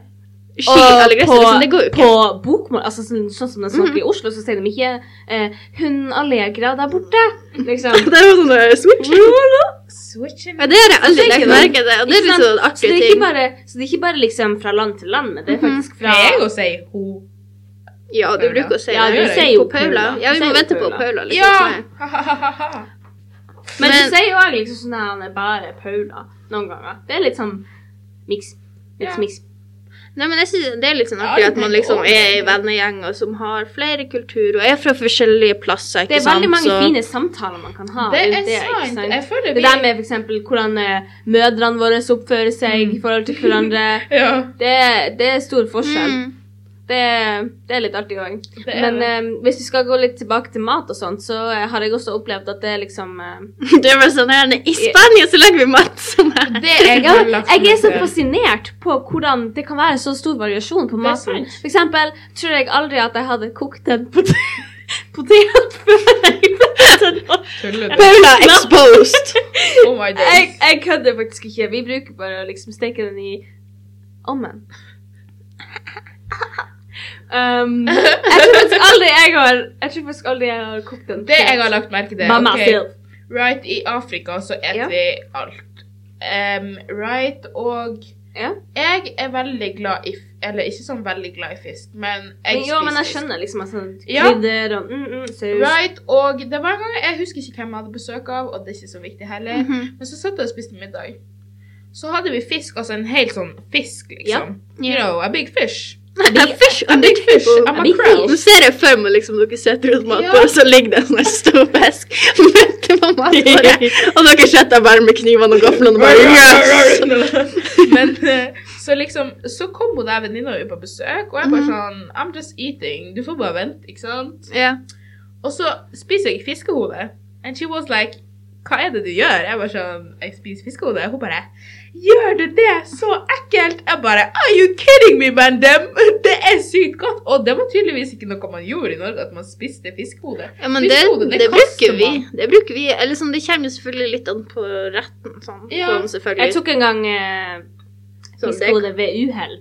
Speaker 2: She Allegresse, liksom. Det går jo ikke.
Speaker 1: på bokmål, altså sånn, sånn som de snakker i Oslo, så sier de ikke eh, 'Hun Allegra der borte'. Liksom.
Speaker 2: Det er jo sånn eh, switch.
Speaker 3: Switching.
Speaker 2: Ja, det har jeg aldri
Speaker 1: Så det er
Speaker 2: lagt
Speaker 1: ikke noe-
Speaker 2: merke til, og det er litt sånn
Speaker 1: så
Speaker 2: artig
Speaker 1: det er ikke
Speaker 2: ting.
Speaker 1: bare, så det er ikke bare liksom fra land til land, men det er
Speaker 2: Mhm.
Speaker 1: faktisk fra
Speaker 3: Nei, jeg òg sier ho.
Speaker 2: Ja, du bruker å si
Speaker 1: Ja,
Speaker 2: det.
Speaker 1: du
Speaker 3: gjør jeg.
Speaker 1: sier
Speaker 2: på
Speaker 1: jo
Speaker 2: Paula. Ja, vi
Speaker 1: Du
Speaker 2: må
Speaker 1: sier jo
Speaker 2: vente på
Speaker 1: Paula.
Speaker 2: Paula. Liksom,
Speaker 3: Ja!
Speaker 2: sånn her.
Speaker 3: Ha-ha-ha-ha.
Speaker 1: Men,
Speaker 2: Men-
Speaker 1: så sier jo jeg liksom sånn at han er bare Paula noen ganger. Det er litt sånn miks. Litt
Speaker 3: Ja.
Speaker 1: miks.
Speaker 2: Nei, men jeg synes Det er litt sånn
Speaker 3: Ja,
Speaker 2: artig
Speaker 3: det
Speaker 2: at man
Speaker 3: tenker
Speaker 2: liksom
Speaker 3: over
Speaker 2: er
Speaker 3: det.
Speaker 2: i vennegjenger som har flere kulturer og er fra forskjellige plasser.
Speaker 1: Det
Speaker 2: ikke
Speaker 1: er veldig mange
Speaker 2: sant? Så-
Speaker 1: fine samtaler man kan ha.
Speaker 3: Det
Speaker 1: rundt
Speaker 3: er
Speaker 1: ikke
Speaker 3: sant. Jeg føler
Speaker 1: Det
Speaker 3: vi
Speaker 1: der med for eksempel hvordan eh, mødrene våre oppfører seg
Speaker 2: Mm.
Speaker 1: i forhold til hverandre,
Speaker 3: Ja.
Speaker 1: det, det er stor forskjell.
Speaker 2: Mm.
Speaker 1: Det, det er litt artig òg.
Speaker 3: Det er
Speaker 1: Men
Speaker 3: det.
Speaker 1: eh, hvis vi skal gå litt tilbake til mat og sånt, så eh, har jeg også opplevd at det er liksom eh,
Speaker 2: Det var sånn her, I Spania så lager vi mat som er
Speaker 3: Det er
Speaker 1: ja,
Speaker 3: gull,
Speaker 1: Jeg er så
Speaker 3: absolutt.
Speaker 1: fascinert på hvordan det kan være så stor variasjon på
Speaker 3: er
Speaker 1: maten.
Speaker 3: sant.
Speaker 1: For eksempel tror jeg aldri at jeg hadde kokt en potet, potet før jeg
Speaker 3: Tuller du?
Speaker 2: Paula exposed!
Speaker 3: Oh my
Speaker 1: Jeg,
Speaker 3: days.
Speaker 1: jeg kødder faktisk ikke. Vi bruker bare å liksom steke den i ovnen. Um, jeg tror faktisk aldri jeg har Jeg tror faktisk aldri jeg har kokt en
Speaker 3: Det jeg har lagt merke til
Speaker 1: Mamma
Speaker 3: ok,
Speaker 1: selv.
Speaker 3: Right i Afrika så spiser
Speaker 1: Ja.
Speaker 3: vi alt. Em, right og
Speaker 1: Ja.
Speaker 3: Jeg er veldig glad i f- Eller ikke sånn veldig glad i fisk, men jeg
Speaker 1: Men, jo, men jeg
Speaker 3: fisk.
Speaker 1: skjønner liksom at sånn
Speaker 3: Ja.
Speaker 1: krydder og mm, mm, saus
Speaker 3: Right, og det var en gang, Jeg husker ikke hvem jeg hadde besøk av, og det er ikke så viktig heller.
Speaker 2: Mhm.
Speaker 3: Men så satt jeg og spiste middag. Så hadde vi fisk, altså en helt sånn fisk, liksom. You know, a big fish.
Speaker 2: Fish on the
Speaker 3: Fish,
Speaker 2: table.
Speaker 3: a
Speaker 1: a big
Speaker 3: mackerel.
Speaker 2: Nå ser jeg for meg liksom dere sitter rundt
Speaker 3: Ja.
Speaker 2: matbordet, så ligger det en sånn her stor fisk midt på matbordet, og dere sitter bare med knivene og gaflene og bare yes!
Speaker 3: Men eh, så liksom Så kom hun der venninna mi på besøk, og jeg bare
Speaker 2: Mhm.
Speaker 3: sånn I'm just eating. Du får bare vente, ikke sant?
Speaker 2: Ja.
Speaker 3: Og så spiser jeg fiskehode. And she was like Hva er det du gjør? Jeg bare sånn Jeg spiser fiskehode. Hun bare Gjør du det? Så ekkelt! Jeg bare Are you kidding me, man? Dem? Det er sykt godt! Og det var tydeligvis ikke noe man gjorde i Norge, at man spiste fiskehode.
Speaker 2: Ja, men det,
Speaker 3: Fiskehode,
Speaker 2: det,
Speaker 3: det kaster
Speaker 2: bruker vi. Det bruker vi. Eller sånn, det kommer jo selvfølgelig litt an på retten. Sånn,
Speaker 3: Ja.
Speaker 2: sånn
Speaker 1: Jeg
Speaker 2: selvfølgelig.
Speaker 1: tok en gang eh,
Speaker 2: Sånn, det-
Speaker 1: fiskehode ved uhell.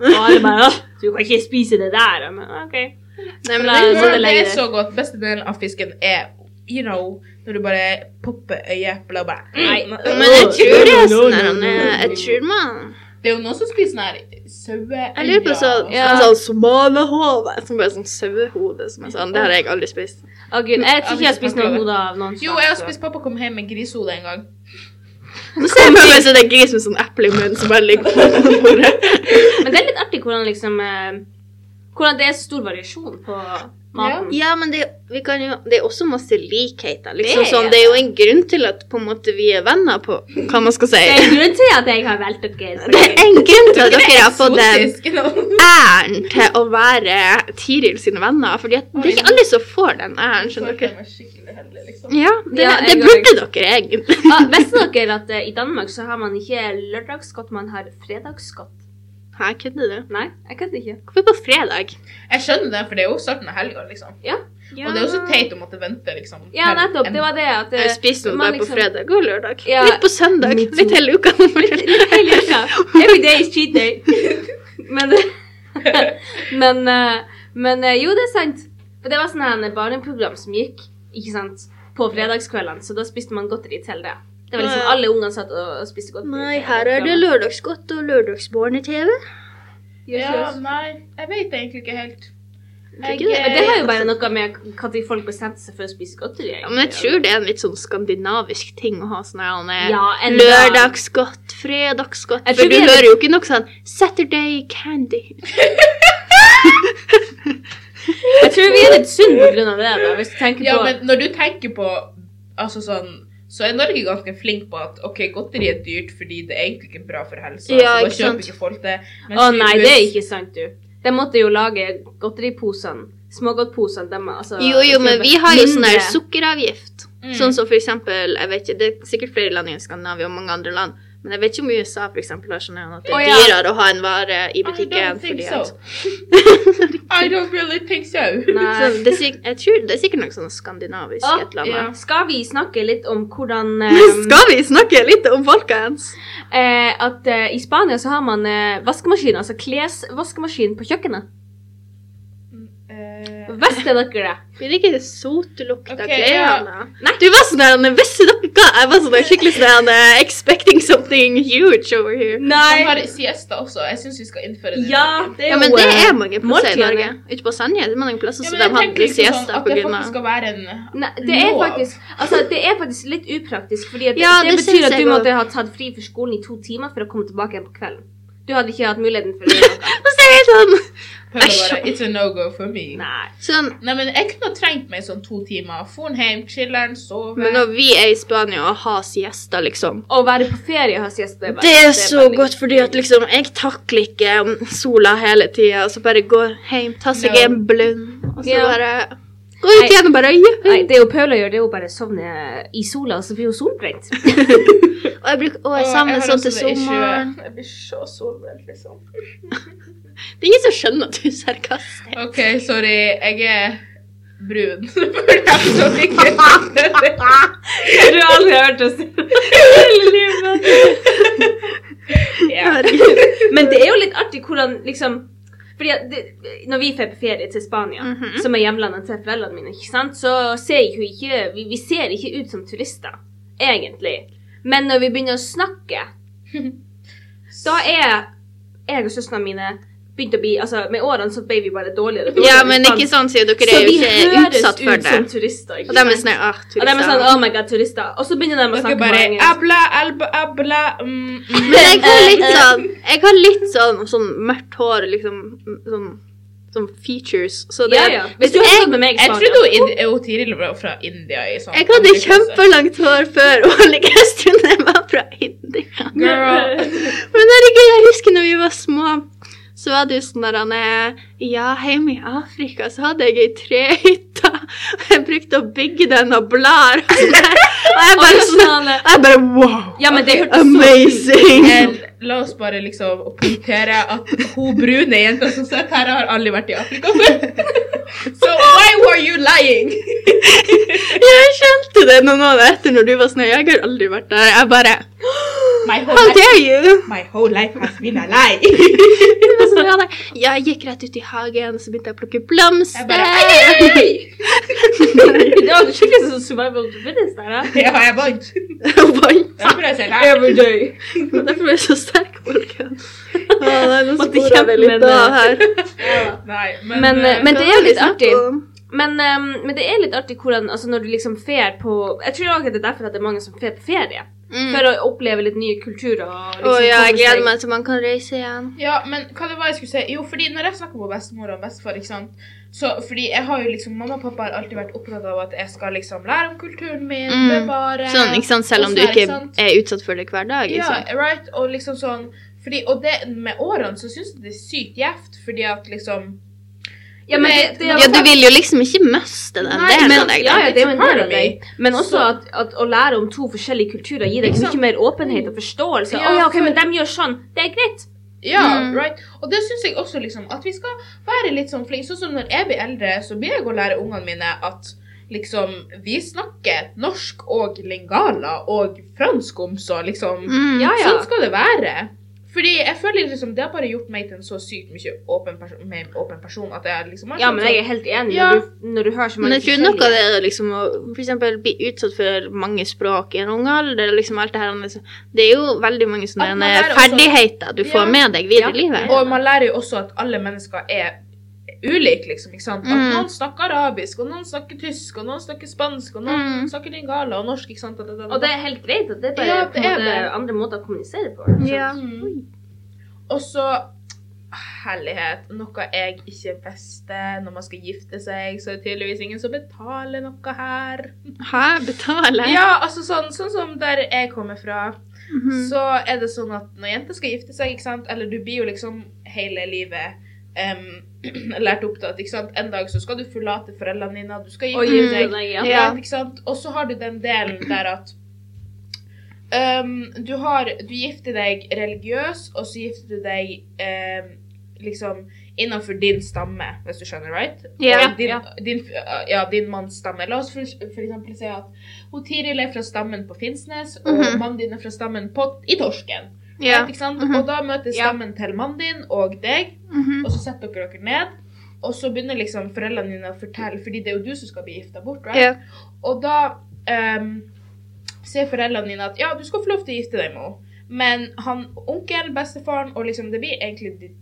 Speaker 1: Og alle bare «Åh, 'Du kan ikke spise det der.' Jeg bare, OK.
Speaker 2: Nei, men eh,
Speaker 1: Bra.
Speaker 2: det,
Speaker 1: så det
Speaker 3: det
Speaker 1: legger
Speaker 3: er
Speaker 1: det.
Speaker 3: så godt. Beste delen av fisken er You know, når du bare popper øyeepler og bare
Speaker 1: Nei.
Speaker 2: Mm. men jeg tror det er sånn her,
Speaker 1: No, no, no, no, no.
Speaker 2: Jeg tror man
Speaker 3: Det er jo noen som spiser sånn her saueøyne.
Speaker 2: Jeg lurer på sånn
Speaker 1: Ja.
Speaker 2: ja. sånn somalahove. Som bare sånn sauehode. Som er sånn. Det har jeg aldri spist.
Speaker 1: Å, Gud, jeg tror ikke jeg har spist noe
Speaker 3: Avisen
Speaker 1: hode av noen.
Speaker 3: Jo,
Speaker 1: slag,
Speaker 3: jeg har
Speaker 1: så-
Speaker 3: spist pappa kom hjem med grisehode en gang.
Speaker 2: Nå ser jeg for meg sånn en gris med sånn eple i munnen som bare ligger på bordet.
Speaker 1: Men det er litt artig hvordan liksom eh, Hvordan det er så stor variasjon på maten.
Speaker 2: Ja, men det, vi kan jo, det er også masse likheter.
Speaker 1: Det
Speaker 2: Liksom,
Speaker 1: er
Speaker 2: sånn, det er jo en grunn til at på en måte, vi er venner på hva man skal si.
Speaker 1: Det er en grunn til at jeg har valgt dere.
Speaker 2: Det er en grunn til at dere har fått den
Speaker 3: Eksotisk, you know.
Speaker 2: æren til å være Tiril sine venner. fordi at det er ikke alle som får den æren. skjønner
Speaker 3: Jeg
Speaker 2: dere?
Speaker 3: var skikkelig heldig, liksom.
Speaker 2: Ja, det,
Speaker 1: Ja,
Speaker 2: det
Speaker 1: jeg
Speaker 2: burde dere egentlig.
Speaker 1: Ah, visste dere at eh, i Danmark så har man ikke lørdagsgodt, man har fredagsgodt?
Speaker 2: Hæ, kødder du?
Speaker 1: Nei, jeg kødder ikke.
Speaker 2: Hvorfor på fredag?
Speaker 3: Jeg skjønner det, for det er jo starten av helga, liksom. Og det er jo så teit å måtte vente, liksom.
Speaker 1: Ja, nettopp. Det var det at eh,
Speaker 2: Jeg spiser noe
Speaker 1: man
Speaker 2: der på fredag og lørdag.
Speaker 1: Ja.
Speaker 2: Litt på søndag.
Speaker 1: Me too.
Speaker 2: Litt hele uka.
Speaker 1: Hele uka. Every day is cheat day. Men, men, eh, men eh, jo, det er sant. For det var sånn her en barneprogram som gikk ikke sant, på fredagskveldene, så da spiste man godteri til det. Det var liksom
Speaker 2: Nei.
Speaker 1: alle ungene satt og og spiste godteri.
Speaker 2: Nei, her er det lørdagsgodt og lørdagsbarne-TV.
Speaker 3: Ja, nei, jeg vet egentlig ikke helt.
Speaker 2: Tror ikke det.
Speaker 3: eh,
Speaker 1: Men det har jo bare noe med når folk bestemte seg for å spise godteri.
Speaker 2: Ja, men jeg tror det er en litt sånn skandinavisk ting å ha sånn her Anne.
Speaker 1: Ja, en dag.
Speaker 2: Lørdagsgodt, fredagsgodt
Speaker 1: Jeg
Speaker 2: For
Speaker 1: tror
Speaker 2: du
Speaker 1: vi er litt-
Speaker 2: hører jo ikke noe sånn Saturday candy.
Speaker 1: Jeg tror vi er litt sunne på grunn av det, da, hvis du tenker
Speaker 3: Ja,
Speaker 1: på
Speaker 3: men når du tenker på Altså sånn så er Norge ganske flink på at ok, godteri er dyrt fordi det er egentlig ikke bra for helsa.
Speaker 2: Ja,
Speaker 3: så da
Speaker 2: ikke
Speaker 3: kjøper
Speaker 2: sant.
Speaker 3: ikke folk det. Mens
Speaker 1: Å
Speaker 3: i
Speaker 1: nei,
Speaker 3: US-
Speaker 1: det er ikke sant, du. De måtte jo lage godteriposene. Smågodtposene. dem, altså,
Speaker 2: Jo, jo, men vi har jo sånn der
Speaker 1: mindre.
Speaker 2: sukkeravgift.
Speaker 3: Mm.
Speaker 2: Sånn som for eksempel, jeg vet ikke, Det er sikkert flere land i Skandinavia og mange andre land, men jeg vet ikke om USA for eksempel, har sånn her at det
Speaker 1: Å,
Speaker 2: er
Speaker 1: ja.
Speaker 2: dyrere å ha en vare i
Speaker 3: I
Speaker 2: butikken.
Speaker 3: don't think
Speaker 2: fordi
Speaker 3: so.
Speaker 2: at...
Speaker 3: I don't really think so.
Speaker 1: Nei.
Speaker 2: Så det, er sik- jeg tror det er sikkert noe sånn skandinavisk
Speaker 1: Å,
Speaker 2: et eller annet.
Speaker 1: ja. Skal vi snakke litt om hvordan
Speaker 2: Men
Speaker 1: eh,
Speaker 2: Skal vi snakke litt om folkens?
Speaker 1: eh, At eh, i Spania så har man eh, vaskemaskin, altså klesvaskemaskin, på kjøkkenet.
Speaker 3: Eh,
Speaker 1: Visste dere det?
Speaker 2: Blir det ikke sotelukt av
Speaker 3: Ok,
Speaker 2: klærne?
Speaker 1: Nei.
Speaker 2: Du var sånn der, visste dere hva? Jeg var sånn der, skikkelig sånn der, expecting something huge over here.
Speaker 3: de har siesta også. Jeg syns vi skal innføre det. i
Speaker 1: Ja,
Speaker 3: Norge.
Speaker 1: det er
Speaker 2: Ja,
Speaker 1: jo
Speaker 2: men det
Speaker 1: eh,
Speaker 2: er mange plasser i
Speaker 1: måltidene.
Speaker 2: Norge. Ute på Senja det er mange plasser
Speaker 3: Ja,
Speaker 2: som
Speaker 3: men
Speaker 2: de
Speaker 3: jeg tenker
Speaker 2: hadde
Speaker 3: liksom sånn
Speaker 2: siesta
Speaker 3: at
Speaker 2: på
Speaker 3: det
Speaker 2: grunn
Speaker 3: faktisk
Speaker 2: av
Speaker 3: skal være en
Speaker 1: Nei, det er
Speaker 3: lov.
Speaker 1: faktisk altså, Det er faktisk litt upraktisk, fordi at
Speaker 2: Ja,
Speaker 1: det,
Speaker 2: det
Speaker 1: betyr
Speaker 2: syns
Speaker 1: at
Speaker 2: jeg
Speaker 1: du
Speaker 2: også.
Speaker 1: måtte ha tatt fri for skolen i to timer for å komme tilbake igjen på kvelden. Du Du hadde ikke hatt muligheten for å gjøre noe.
Speaker 2: Og så er jeg sånn
Speaker 3: Prøvde bare, It's a no-go for me. Nei.
Speaker 1: Nei.
Speaker 2: Sånn,
Speaker 3: men jeg kunne ha trengt meg sånn to timer. For'n hjem, chiller'n, sove.
Speaker 2: Men når vi er i Spania og har siesta, liksom
Speaker 1: Å være på ferie og ha siesta bare-
Speaker 2: Det er så
Speaker 1: veldig-
Speaker 2: godt, fordi at liksom Jeg takler ikke mm, sola hele tida, og så bare gå hjem, ta seg
Speaker 3: Ja.
Speaker 2: en blund, og så
Speaker 1: Ja.
Speaker 2: bare Gå ut
Speaker 1: Nei.
Speaker 2: igjen og bare juhu.
Speaker 1: Nei, det jo Paula gjør, det er jo bare å sovne i sola, og så blir hun solbrent.
Speaker 2: Og jeg bruker å
Speaker 3: Åh,
Speaker 2: jeg
Speaker 3: jeg
Speaker 2: savner
Speaker 3: har
Speaker 2: sånn
Speaker 3: også
Speaker 2: til
Speaker 3: det issue.
Speaker 2: sommeren.
Speaker 3: Jeg blir så solbrent, liksom.
Speaker 2: Det er ingen som skjønner at du er sarkastisk.
Speaker 3: OK, sorry. Jeg er brun. For dem som ikke skjønner
Speaker 1: Du
Speaker 3: det.
Speaker 1: har aldri hørt oss hele livet.
Speaker 3: Ja.
Speaker 1: Men det er jo litt artig hvordan liksom fordi at det, Når vi drar på ferie til Spania,
Speaker 2: Mhm.
Speaker 1: som er hjemlandet til foreldrene mine, ikke sant? så ser jo ikke vi, vi ser ikke ut som turister, egentlig. Men når vi begynner å snakke, da er jeg og søstrene mine begynt å bli altså Med årene så ble vi bare dårligere. og dårligere
Speaker 2: Ja,
Speaker 1: i
Speaker 2: men
Speaker 1: spansk.
Speaker 2: ikke sånn, sier dere
Speaker 1: Så
Speaker 2: er
Speaker 1: vi
Speaker 2: jo ikke
Speaker 1: høres
Speaker 2: utsatt for
Speaker 1: ut
Speaker 2: det.
Speaker 1: som turister. ikke
Speaker 2: Og de er
Speaker 1: sant?
Speaker 2: sånn ah,
Speaker 1: Og de er sånn
Speaker 2: turister.
Speaker 1: Oh my god, turister. Og så begynner de å
Speaker 3: Dere
Speaker 1: snakke
Speaker 3: bare
Speaker 1: på engelsk.
Speaker 3: abla, alba, abla mm, mm.
Speaker 2: Men jeg har litt sånn Jeg har litt sånn, sånn mørkt hår, liksom sånn, sånn features. Så det
Speaker 1: Ja, ja. Hvis du hadde
Speaker 2: jeg,
Speaker 1: stått med meg i
Speaker 3: Jeg
Speaker 1: Spania
Speaker 3: trodde hun Indi- hun Tiril var fra India. I sånn
Speaker 2: jeg hadde
Speaker 3: undersøkelse.
Speaker 2: kjempelangt hår før, og like stund jeg var fra India.
Speaker 3: Girl.
Speaker 2: Men herregud, jeg husker når vi var små, så var det jo sånn der han er Ja, hjemme i Afrika så hadde jeg ei trehytte. og Jeg brukte å bygge den av blader. Og jeg bare sånn
Speaker 1: Originale.
Speaker 2: Jeg bare wow!
Speaker 1: Ja, men det hørtes
Speaker 2: Amazing!
Speaker 3: Eh, La oss bare liksom punktere at hun brune jenta som sitter her, har aldri vært i Afrika før. So why were you lying?
Speaker 2: Jeg skjønte det noen år etter når du var sånn Jeg har aldri vært der. Jeg bare
Speaker 3: My
Speaker 2: How
Speaker 3: whole, life,
Speaker 2: dare you?
Speaker 3: my whole life has been a lie.
Speaker 2: Det var sånn, ja, nei. Ja, jeg gikk rett ut i hagen, så begynte jeg å plukke blomster.
Speaker 3: Jeg bare, ei, ei, ei.
Speaker 1: så Det var skikkelig sånn survival of the fittest der, ja.
Speaker 3: Ja, jeg vant.
Speaker 2: Og vant.
Speaker 3: Derfor jeg sier nei.
Speaker 1: Every day.
Speaker 2: Derfor ble jeg så sterk, folkens. Å, nei, nå
Speaker 1: Måtte
Speaker 2: sporer
Speaker 1: kjempe
Speaker 2: vi litt
Speaker 1: med det.
Speaker 2: av her.
Speaker 3: Nei,
Speaker 1: Men,
Speaker 3: men, eh,
Speaker 1: men det er jo litt artig.
Speaker 2: Om-
Speaker 1: Men, ehm, men det er litt artig hvordan altså når du liksom fer på Jeg tror også at det er derfor at det er mange som fer på ferie.
Speaker 2: Mm.
Speaker 1: For å oppleve litt nye kulturer. og
Speaker 2: Å
Speaker 1: liksom
Speaker 2: ja, jeg
Speaker 1: komme
Speaker 2: gleder
Speaker 1: seg-
Speaker 2: meg til man kan reise igjen.
Speaker 3: Ja, men hva det var jeg skulle si? Jo, fordi når jeg snakker med bestemor og bestefar, ikke sant? Så, fordi jeg har jo liksom, mamma og pappa har alltid vært opptatt av at jeg skal liksom lære om kulturen min,
Speaker 2: Mm.
Speaker 3: bevare.
Speaker 2: Sånn, ikke sant? Selv om
Speaker 3: og
Speaker 2: du
Speaker 3: sånn,
Speaker 2: ikke
Speaker 3: sant?
Speaker 2: er utsatt for det hver dag. Ikke sant?
Speaker 3: Ja, right, og liksom sånn fordi, Og det, med årene så syns jeg det er sykt gjevt, fordi at liksom
Speaker 1: Ja, men det, det er, sånn-
Speaker 2: Ja, du vil jo liksom ikke miste den sånn
Speaker 3: Nei,
Speaker 2: delen
Speaker 3: men-
Speaker 2: av deg.
Speaker 1: ja,
Speaker 2: da.
Speaker 1: ja, det er jo en del av
Speaker 3: Part of
Speaker 1: deg. Men også
Speaker 3: Så-
Speaker 1: at, at å lære om to forskjellige kulturer gir deg
Speaker 3: Ikke sant?
Speaker 1: mye mer åpenhet og forståelse. Å
Speaker 3: Ja,
Speaker 1: ja, ok,
Speaker 3: for-
Speaker 1: men de gjør sånn. Det er greit.
Speaker 3: Ja,
Speaker 2: Mm.
Speaker 3: right. Og det syns jeg også, liksom, at vi skal være litt sånn flinke. Sånn som når jeg blir eldre, så blir jeg å lære ungene mine at liksom Vi snakker norsk og lingala og fransk om, så liksom
Speaker 2: Mm.
Speaker 1: Ja, ja.
Speaker 3: Sånn skal det være. Fordi jeg føler liksom Det har bare gjort meg til en så sykt mye åpen person, mer åpen person at jeg liksom har
Speaker 1: Ja,
Speaker 3: sånn-
Speaker 1: men jeg er helt enig
Speaker 3: Ja.
Speaker 1: når, du, når du hører så mange
Speaker 2: Men jeg tror noe av
Speaker 1: forskjellige-
Speaker 2: det er liksom å for eksempel, bli utsatt for mange språk i en ung alder. Liksom alt det, her, og liksom, det er jo veldig mange
Speaker 3: At
Speaker 2: sånne
Speaker 3: man lærer også-
Speaker 2: ferdigheter du
Speaker 3: Ja.
Speaker 2: får med deg
Speaker 1: Ja.
Speaker 2: videre i livet.
Speaker 3: Og man lærer jo også at alle mennesker er ulike, liksom. ikke sant? At
Speaker 2: Mm.
Speaker 3: Noen snakker arabisk, og noen snakker tysk, og noen snakker spansk, og noen
Speaker 2: Mm.
Speaker 3: snakker lingala og norsk. ikke sant? Da, da, da, da.
Speaker 1: Og det er helt greit. at Det er bare
Speaker 3: Ja,
Speaker 1: på en
Speaker 3: det er
Speaker 1: måte,
Speaker 3: det.
Speaker 1: andre måter å kommunisere på.
Speaker 2: Ja.
Speaker 3: Mm. Og så Herlighet. Noe jeg ikke visste. Når man skal gifte seg, så er det tydeligvis ingen som betaler noe her.
Speaker 2: Hæ? Betale?
Speaker 3: Ja, altså sånn, sånn som der jeg kommer fra.
Speaker 2: Mhm.
Speaker 3: så er det sånn at når jenter skal gifte seg, ikke sant, eller du blir jo liksom hele livet em, lært opp til at ikke sant, en dag så skal du forlate foreldrene dine, du skal
Speaker 1: Og
Speaker 3: gifte
Speaker 1: gifte
Speaker 3: deg.
Speaker 1: deg, ja.
Speaker 2: Ja.
Speaker 3: Ikke sant? Og så har du den delen der at em, du, har, du gifter deg religiøs, og så gifter du deg em, liksom innenfor din stamme, hvis du skjønner, right?
Speaker 2: Ja,
Speaker 3: Og din,
Speaker 1: ja.
Speaker 3: Din, ja, din manns stamme. La oss for, for eksempel si at hun Tiril er fra stammen på Finnsnes, og
Speaker 2: Mhm.
Speaker 3: mannen din er fra stammen på, i Torsken.
Speaker 2: Ja.
Speaker 3: Ikke sant?
Speaker 2: Mhm.
Speaker 3: Og da møtes
Speaker 1: Ja.
Speaker 3: stammen til mannen din og deg,
Speaker 2: Mhm.
Speaker 3: og så setter dere dere ned. Og så begynner liksom foreldrene dine å fortelle, fordi det er jo du som skal bli gifta bort. Right?
Speaker 2: Ja.
Speaker 3: Og da ehm, sier foreldrene dine at ja, du skal få lov til å gifte deg med henne. Men han, onkel, bestefaren og liksom Det blir egentlig de-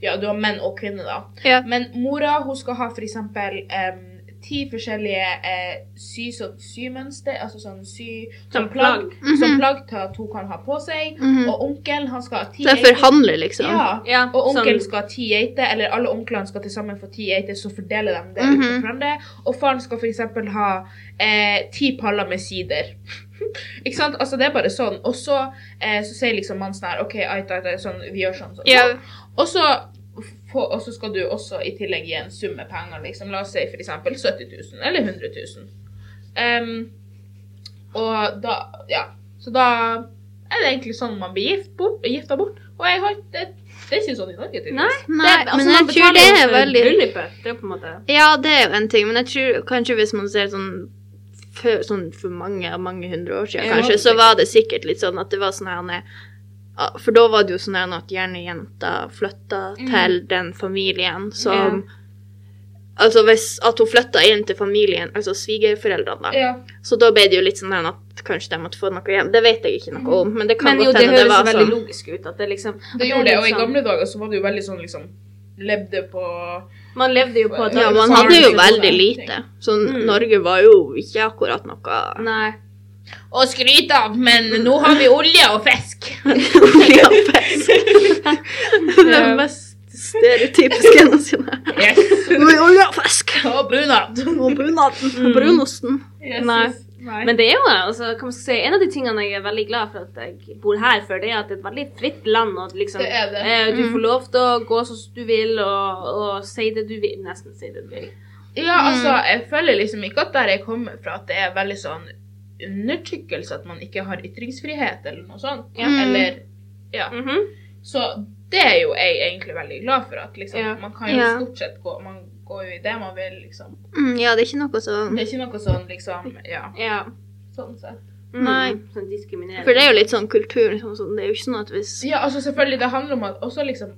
Speaker 3: Ja, du har menn og kvinner, da.
Speaker 2: Ja.
Speaker 3: Men mora hun skal ha for eksempel em, ti forskjellige eh, sy, sånn, symønster, altså sånn sy...
Speaker 1: Som plagg.
Speaker 3: Som
Speaker 2: Mhm.
Speaker 3: plagg til at hun kan ha på seg.
Speaker 2: Mhm.
Speaker 3: Og onkelen, han skal ha ti
Speaker 2: Så jeg forhandler, liksom.
Speaker 3: Ja.
Speaker 1: Ja,
Speaker 3: Og onkelen
Speaker 1: sånn-
Speaker 3: skal ha ti geiter, eller alle onklene skal til sammen få ti geiter, så fordeler de det
Speaker 2: Mhm.
Speaker 3: ut til hverandre. Og faren skal f.eks. ha eh, ti paller med sider. Ikke sant? Altså, det er bare sånn. Og så, eh, så sier liksom mannen sånn her OK, ait, ait, ait, sånn, vi gjør sånn, sånn.
Speaker 2: Ja.
Speaker 3: sånn. Og så få, og så skal du også i tillegg gi en sum med penger, liksom. La oss si f.eks. 70 000, eller 100 000. Em, og da Ja. Så da er det egentlig sånn man blir gift bort, gifta bort. Og jeg har det, det er ikke sånn i Norge, tydeligvis.
Speaker 1: Nei, altså,
Speaker 2: Nei, men jeg tror det er veldig
Speaker 1: Bryllupet. Det er jo på en måte
Speaker 2: Ja, det er jo en ting, men jeg tror kanskje hvis man ser sånn for, sånn for mange, mange hundre år siden,
Speaker 3: Ja,
Speaker 2: kanskje,
Speaker 3: det-
Speaker 2: så var det sikkert litt sånn at det var sånn her nei, ah, For da var det jo sånn her at gjerne jenta flytta
Speaker 3: Mm.
Speaker 2: til den familien som Altså hvis at hun flytta inn til familien, altså svigerforeldrene, da.
Speaker 3: Ja.
Speaker 2: Så da ble det jo litt sånn her at kanskje de måtte få noe igjen. Det vet jeg ikke noe om, men det kan
Speaker 1: Men jo,
Speaker 2: godt
Speaker 1: det
Speaker 2: hende
Speaker 1: høres
Speaker 2: det,
Speaker 1: jo
Speaker 2: var
Speaker 1: veldig
Speaker 2: sånn.
Speaker 1: logisk ut at det liksom at
Speaker 3: Det gjorde det,
Speaker 1: er
Speaker 3: og i
Speaker 1: litt sånn-
Speaker 3: gamle dager så var det jo veldig sånn liksom Levde på
Speaker 1: Man levde jo på at-
Speaker 2: Ja,
Speaker 3: Ja,
Speaker 2: man
Speaker 3: så
Speaker 2: hadde
Speaker 3: er
Speaker 2: jo
Speaker 3: det jo
Speaker 2: veldig
Speaker 3: sånn.
Speaker 2: lite. Så
Speaker 1: Mm.
Speaker 2: Norge var jo ikke akkurat noe
Speaker 1: Nei.
Speaker 3: Å skryte av, men nå har vi olje og fisk!
Speaker 2: oljefest. Det er
Speaker 3: Ja.
Speaker 2: mest stereotypiske nasjonale.
Speaker 3: Yes.
Speaker 2: Oljefisk!
Speaker 3: Og brunat.
Speaker 2: Og bunaden. Og brunosten.
Speaker 3: Yes,
Speaker 1: Nei.
Speaker 3: yes. Nei.
Speaker 1: Men det er jo altså, hva man skal si, en av de tingene jeg er veldig glad for at jeg bor her for, det er at det er et veldig fritt land. Og at liksom,
Speaker 3: Det er det.
Speaker 1: eh, du
Speaker 2: Mm.
Speaker 1: får lov til å gå sånn som du vil, og, og si det du vil. Nesten si det du vil.
Speaker 3: Ja,
Speaker 1: Mm.
Speaker 3: altså, jeg føler liksom ikke at der jeg kommer fra, at det er veldig sånn undertrykkelse at man ikke har ytringsfrihet eller noe sånt.
Speaker 1: Ja.
Speaker 3: Eller Ja.
Speaker 1: Mhm.
Speaker 3: Så det er jo jeg egentlig veldig glad for, at liksom
Speaker 1: Ja.
Speaker 3: Man kan jo
Speaker 2: Ja.
Speaker 3: stort sett gå Man går jo i det man vil, liksom.
Speaker 2: Mm, ja, det er ikke noe sånn
Speaker 3: Det er ikke noe sånn liksom Ja,
Speaker 1: Ja.
Speaker 3: sånn sett.
Speaker 1: Mm.
Speaker 2: Nei.
Speaker 1: Sånn diskriminering.
Speaker 2: For det er jo litt sånn kultur. Liksom, sånn. Det er jo ikke sånn at hvis
Speaker 3: Ja, altså selvfølgelig, det handler om at også liksom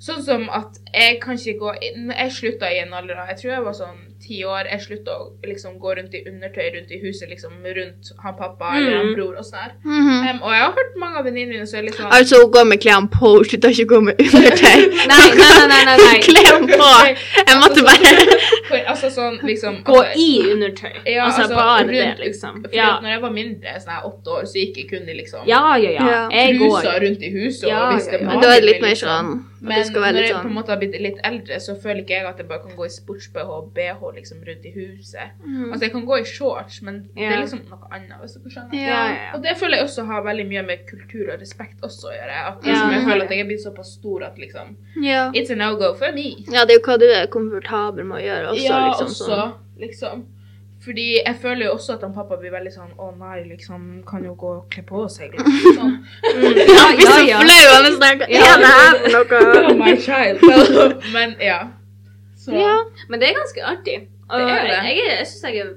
Speaker 3: Sånn som at jeg kan ikke gå inn Jeg slutta i en alder av Jeg tror jeg var sånn ti år. Jeg slutta å liksom gå rundt i undertøy rundt i huset, liksom rundt han pappa eller han
Speaker 1: Mm.
Speaker 3: bror og sånn her.
Speaker 2: Mhm.
Speaker 3: Em, og jeg har hørt mange av venninnene mine som er litt sånn
Speaker 2: Altså, hun går med klærne på, hun slutter ikke å gå med undertøy.
Speaker 1: Nei, nei, nei, nei, nei, nei.
Speaker 2: Klærne på! Jeg måtte bare
Speaker 3: altså, For, altså sånn liksom
Speaker 1: Gå
Speaker 3: altså,
Speaker 1: i undertøy.
Speaker 3: ja,
Speaker 1: altså, bare
Speaker 3: rundt-
Speaker 1: det, liksom.
Speaker 3: Fordi
Speaker 1: Ja.
Speaker 3: at når jeg var mindre, sånn her åtte år, så gikk jeg kun i liksom
Speaker 1: ja, ja, ja.
Speaker 2: Ja.
Speaker 1: Jeg går.
Speaker 3: trusa rundt i huset
Speaker 1: Ja,
Speaker 3: og hvis det
Speaker 1: ja, ja.
Speaker 2: Men da er det litt mer sånn at det
Speaker 3: liksom. Men
Speaker 2: skal
Speaker 3: når
Speaker 2: være litt
Speaker 3: jeg på en
Speaker 2: sånn
Speaker 3: måte har blitt litt eldre, så føler ikke jeg at jeg bare kan gå i sports-BH og BH liksom rundt i huset.
Speaker 2: Mm.
Speaker 3: Altså, jeg kan gå i shorts, men det
Speaker 1: Ja.
Speaker 3: er liksom noe annet, hvis dere skjønner.
Speaker 1: Ja, ja, ja.
Speaker 3: Og det føler jeg også har veldig mye med kultur og respekt også å gjøre. At
Speaker 1: Ja,
Speaker 3: liksom, jeg
Speaker 2: det
Speaker 1: har
Speaker 3: føler
Speaker 1: det.
Speaker 3: at jeg er blitt såpass stor at liksom
Speaker 2: Ja.
Speaker 3: It's a no-go for me.
Speaker 2: Ja, det er jo hva du er komfortabel med å gjøre også,
Speaker 3: ja,
Speaker 2: liksom.
Speaker 3: også,
Speaker 2: Sånn.
Speaker 3: liksom. Fordi jeg føler jo også at han pappa blir veldig sånn Å nei, liksom, kan jo gå og kle på seg, liksom. Sånn.
Speaker 1: Ja,
Speaker 2: Jeg blir sånn-
Speaker 1: ja, ja.
Speaker 2: så flau av å snakke
Speaker 1: Ja.
Speaker 2: Ja, det er for
Speaker 3: Oh,
Speaker 2: noe
Speaker 3: my child. Men ja. Så.
Speaker 2: Ja.
Speaker 1: Men det er ganske artig. Og
Speaker 3: Det er det.
Speaker 1: Jeg, jeg, er- jeg synes jeg, er,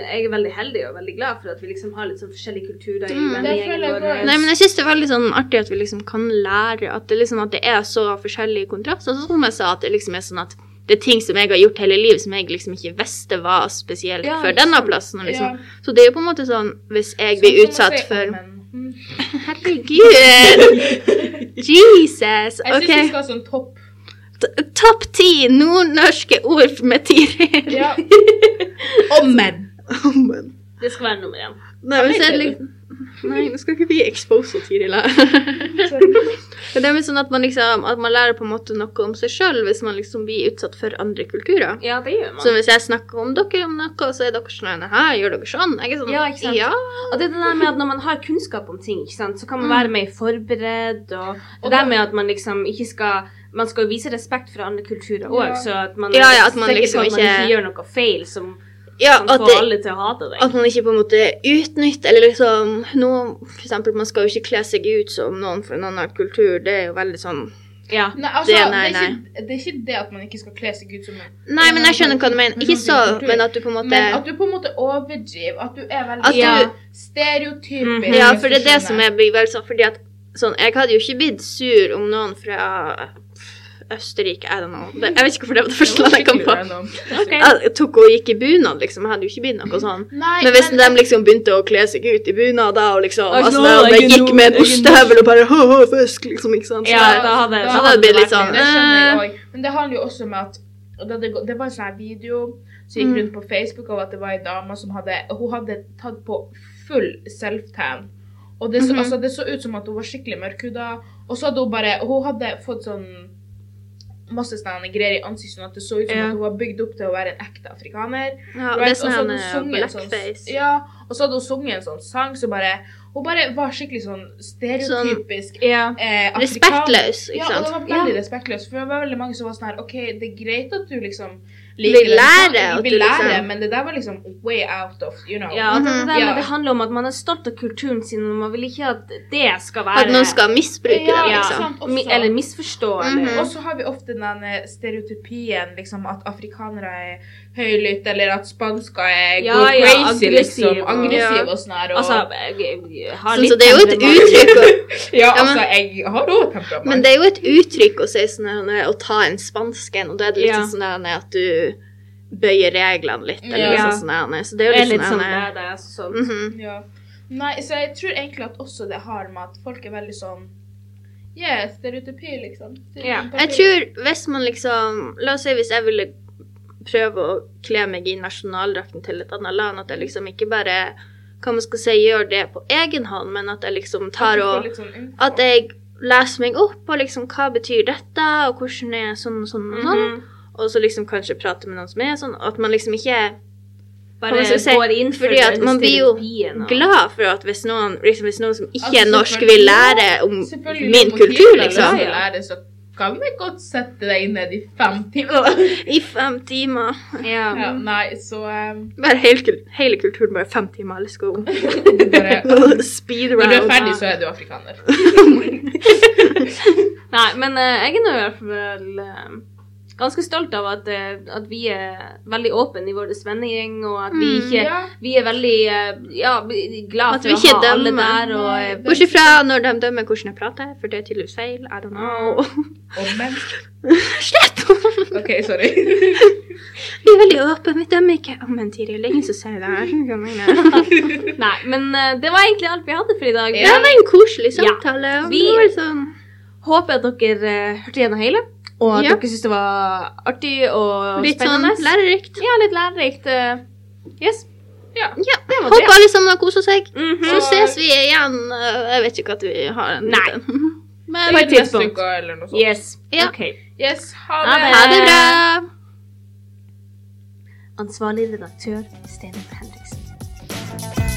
Speaker 1: eh, jeg er veldig heldig og veldig glad for at vi liksom har litt sånn forskjellige kulturer i
Speaker 2: Mm.
Speaker 1: vennegjengen
Speaker 3: Det føler jeg
Speaker 1: vår.
Speaker 3: også.
Speaker 2: Nei, men jeg syns det er veldig sånn artig at vi liksom kan lære at det, liksom, at det er så forskjellige kontraster. Sånn som jeg sa, at det liksom er sånn at det er ting som jeg har gjort hele livet som jeg liksom ikke visste var spesielt
Speaker 1: Ja,
Speaker 2: for
Speaker 1: ikke
Speaker 2: denne
Speaker 1: sant.
Speaker 2: plassen. Liksom.
Speaker 3: Ja.
Speaker 2: Så det er jo på en måte sånn hvis jeg
Speaker 3: Sånn
Speaker 2: blir
Speaker 3: som å
Speaker 2: utsatt
Speaker 3: si,
Speaker 2: for
Speaker 3: «Å, men,
Speaker 2: Herregud! Jesus!
Speaker 3: Jeg syns vi
Speaker 2: OK.
Speaker 3: skal ha sånn topp.
Speaker 2: T- Topp ti nordnorske ord med Tiril.
Speaker 3: Ja. Om menn.
Speaker 2: Amen.
Speaker 1: Det skal være nummer én.
Speaker 2: Nei, men så er det
Speaker 3: Vet
Speaker 2: liksom Nei, nå skal ikke vi expose Tiril her. Men det er mer sånn at man liksom At man lærer på en måte noe om seg sjøl hvis man liksom blir utsatt for andre kulturer.
Speaker 1: Ja, det gjør man.
Speaker 2: Så hvis jeg snakker om dere om noe, så er dere sånn Hæ, gjør dere sånn? Jeg er sånn
Speaker 1: Ja, ikke sant?
Speaker 2: Ja.
Speaker 1: Og det er det der med at når man har kunnskap om ting, ikke sant, så kan man
Speaker 2: Mm.
Speaker 1: være mer forberedt. Og det
Speaker 3: Og
Speaker 1: der
Speaker 3: da-
Speaker 1: med at man liksom ikke skal Man skal jo vise respekt for andre kulturer òg,
Speaker 3: Ja.
Speaker 1: så at man
Speaker 2: Ja, ja, at man
Speaker 1: sikker
Speaker 2: liksom
Speaker 1: på at man
Speaker 2: ikke-
Speaker 1: ikke gjør noe feil som
Speaker 2: ja
Speaker 1: kan
Speaker 2: at,
Speaker 1: få
Speaker 2: det,
Speaker 1: alle til å hate deg.
Speaker 2: at man ikke på en måte utnytter Eller liksom noe For eksempel, man skal jo ikke kle seg ut som noen fra en annen kultur. Det er jo veldig sånn
Speaker 1: ja.
Speaker 3: Nei, altså, det,
Speaker 2: Det- nei,
Speaker 3: er ikke, det er ikke det at man ikke skal kle seg ut som en
Speaker 2: Nei, men jeg skjønner hva du mener. Ikke så, men at du på en måte
Speaker 3: Men at du på en måte overdriver. At du er
Speaker 2: At
Speaker 3: veldig
Speaker 2: du- Mm-hmm.
Speaker 3: stereotypisk.
Speaker 1: Mhm.
Speaker 2: Ja,
Speaker 3: hvis
Speaker 2: for
Speaker 3: du
Speaker 2: det er det
Speaker 3: skjønner.
Speaker 2: som jeg blir veldig sånn Fordi at sånn, jeg hadde jo ikke blitt sur om noen fra Østerrike I don't know. Det, jeg vet ikke hvorfor det var det første landet jeg kom på.
Speaker 3: Random.
Speaker 1: Ok.
Speaker 2: Jeg tok og gikk i bunad, liksom. Jeg hadde jo ikke blitt noe sånn.
Speaker 3: Nei,
Speaker 2: Men hvis de liksom begynte å kle seg ut i bunader og liksom
Speaker 1: Altså,
Speaker 2: altså,
Speaker 1: nå er
Speaker 2: de,
Speaker 1: jeg
Speaker 2: gikk
Speaker 1: nord-
Speaker 2: med
Speaker 1: jeg er
Speaker 2: bostøvel og bare «Haha, fisk, liksom, ikke sant? Så
Speaker 1: ja,
Speaker 2: det-
Speaker 1: da hadde,
Speaker 3: da
Speaker 1: så
Speaker 2: hadde det blitt
Speaker 1: vært
Speaker 2: litt sånn,
Speaker 1: mer-
Speaker 3: Det skjønner jeg òg. Men det handler jo også med at og da det, det var en sånn her video Så gikk
Speaker 2: Mm.
Speaker 3: rundt på Facebook av at det var ei dame som hadde Hun hadde tatt på full self-tan. Og det så,
Speaker 2: Mhm.
Speaker 3: altså, det så ut som at hun var skikkelig mørkhuda. Og så hadde hun bare Hun hadde fått sånn masse sånne greier i ansiktet, sånn at det så ut som
Speaker 2: Ja.
Speaker 3: at hun var bygd opp til å være en ekte afrikaner.
Speaker 2: Ja, det er
Speaker 3: Right, og så
Speaker 2: sånn
Speaker 3: hadde hun
Speaker 2: eh,
Speaker 3: sunget en sånn-
Speaker 2: blackface.
Speaker 3: Ja, og så hadde hun sunget en sånn sang som bare Hun bare var skikkelig sånn stereotypisk
Speaker 1: Ja.
Speaker 3: eh, afrikan-
Speaker 2: Respektløs,
Speaker 3: Ja,
Speaker 2: ikke
Speaker 3: og det
Speaker 2: sant?
Speaker 3: var veldig respektløst. For det var veldig mange som var sånn her OK, det er greit at du liksom
Speaker 2: Vil
Speaker 3: den
Speaker 2: lære,
Speaker 3: sangen,
Speaker 2: at du
Speaker 3: vil
Speaker 2: liksom-
Speaker 3: lære, men det der var liksom way out of You know.
Speaker 1: Ja, at det,
Speaker 2: Mhm.
Speaker 1: der,
Speaker 3: Ja.
Speaker 1: det handler om at man er stolt av kulturen sin, og man vil ikke at det skal være
Speaker 2: At noen skal misbruke
Speaker 3: Ja,
Speaker 2: dem,
Speaker 1: ja,
Speaker 2: liksom.
Speaker 3: sant, også.
Speaker 1: mi, Eller misforstå, eller
Speaker 2: Mhm.
Speaker 3: Og så har vi ofte den eh, stereotypien liksom, at afrikanere er høylytte, eller at spansker er
Speaker 1: Ja,
Speaker 3: go
Speaker 1: ja,
Speaker 3: crazy,
Speaker 1: aggressiv
Speaker 3: liksom.
Speaker 1: og-
Speaker 3: Aggressive
Speaker 2: Ja.
Speaker 3: og sånn her. Og,
Speaker 1: Altså, jeg, jeg har
Speaker 2: Sånn,
Speaker 1: litt
Speaker 2: så det er jo et
Speaker 1: temperament.
Speaker 2: uttrykk å
Speaker 3: ja,
Speaker 2: ja, men-
Speaker 3: altså, jeg har òg temperament.
Speaker 2: Men det er jo et uttrykk å si sånn her, når- å ta en spansk en, og da er det litt
Speaker 1: Ja.
Speaker 2: sånn her, at du bøyer reglene litt, eller
Speaker 3: Ja.
Speaker 2: noe sånt. sånn her. Så det er
Speaker 1: Det
Speaker 2: jo
Speaker 1: er
Speaker 2: litt,
Speaker 1: litt sånn
Speaker 2: sånn her,
Speaker 1: det er, det er sånn.
Speaker 2: mhm.
Speaker 3: Ja. Nei, så jeg tror egentlig at også det har med at folk er veldig sånn Yeah, stereotypi, liksom.
Speaker 1: Ja.
Speaker 2: Jeg tror hvis man liksom La oss si hvis jeg ville prøve å kle meg i nasjonaldrakten til et annet land, at jeg liksom ikke bare hva man skal si, gjør det på egen hånd, men at jeg liksom
Speaker 3: At
Speaker 2: tar
Speaker 3: du får
Speaker 2: og
Speaker 3: litt sånn info.
Speaker 2: At jeg leser meg opp på liksom hva betyr dette, og hvordan er sånn og sånn og sånn,
Speaker 1: Mhm.
Speaker 2: og så liksom kanskje prate med noen som er sånn, at man liksom ikke er
Speaker 1: Bare
Speaker 2: Hva skal jeg si?
Speaker 1: går inn for
Speaker 2: Fordi at
Speaker 1: den
Speaker 2: man blir jo
Speaker 1: stereotypien, og-
Speaker 2: glad for at hvis noen, liksom, hvis noen som ikke
Speaker 3: Altså,
Speaker 2: er norsk,
Speaker 3: selvfølgelig-
Speaker 2: vil lære om
Speaker 3: Selvfølgelig,
Speaker 2: min
Speaker 3: når
Speaker 2: kultur,
Speaker 3: motivene
Speaker 2: liksom.
Speaker 3: lar seg Lære, så kan vi godt sette deg inn i fem timer.
Speaker 2: I fem timer.
Speaker 1: Ja.
Speaker 3: Ja, nei, så um,
Speaker 2: Bare hele, kul- hele kulturen, bare fem timer. Let's go.
Speaker 3: bare
Speaker 2: Speed
Speaker 3: Når du er
Speaker 2: round.
Speaker 3: ferdig, så er du afrikaner.
Speaker 1: Nei, men eh, jeg er nå i hvert fall eh, ganske stolt av at, eh, at vi er veldig åpne i vår vennegjeng, og at vi
Speaker 2: Mm,
Speaker 1: ikke
Speaker 3: ja.
Speaker 1: Vi er veldig eh, ja, vi- glad
Speaker 2: At
Speaker 1: for
Speaker 2: vi
Speaker 1: å
Speaker 2: ikke
Speaker 1: ha alle
Speaker 2: dømmer.
Speaker 1: der, og eh,
Speaker 2: Bortsett fra når de dømmer hvordan jeg prater, for det er tydeligvis feil. I don't know.
Speaker 3: Og men
Speaker 2: Slett!
Speaker 3: OK, sorry.
Speaker 2: Vi er veldig åpne, vi dømmer ikke. Å, men Tiril, det er ingen som sier det. her. Hva mener du?
Speaker 1: Nei, men eh, det var egentlig alt vi hadde for i dag.
Speaker 2: Det var en koselig
Speaker 1: Ja.
Speaker 2: samtale. og
Speaker 1: Vi-
Speaker 2: det var sånn...
Speaker 1: Håper at dere eh, hørte gjennom hele, og at
Speaker 2: Ja.
Speaker 1: dere syntes det var artig og
Speaker 2: Litt sånn
Speaker 1: spennende.
Speaker 2: lærerikt.
Speaker 1: ja, litt lærerikt. eh, Yes.
Speaker 3: Ja.
Speaker 2: Ja.
Speaker 1: Det var det.
Speaker 2: Håper alle sammen har koset seg.
Speaker 1: Mhm.
Speaker 2: Så ses vi igjen. øh, Jeg vet ikke at vi har en
Speaker 1: Nei.
Speaker 2: liten. Men
Speaker 1: På et
Speaker 3: Neste
Speaker 1: tidspunkt.
Speaker 3: uke eller noe sånt.
Speaker 1: Yes.
Speaker 2: Ja.
Speaker 1: OK.
Speaker 3: Yes, ha
Speaker 1: Ha
Speaker 3: det.
Speaker 2: ha det bra.
Speaker 1: Ansvarlig redaktør Steinar Henriksen.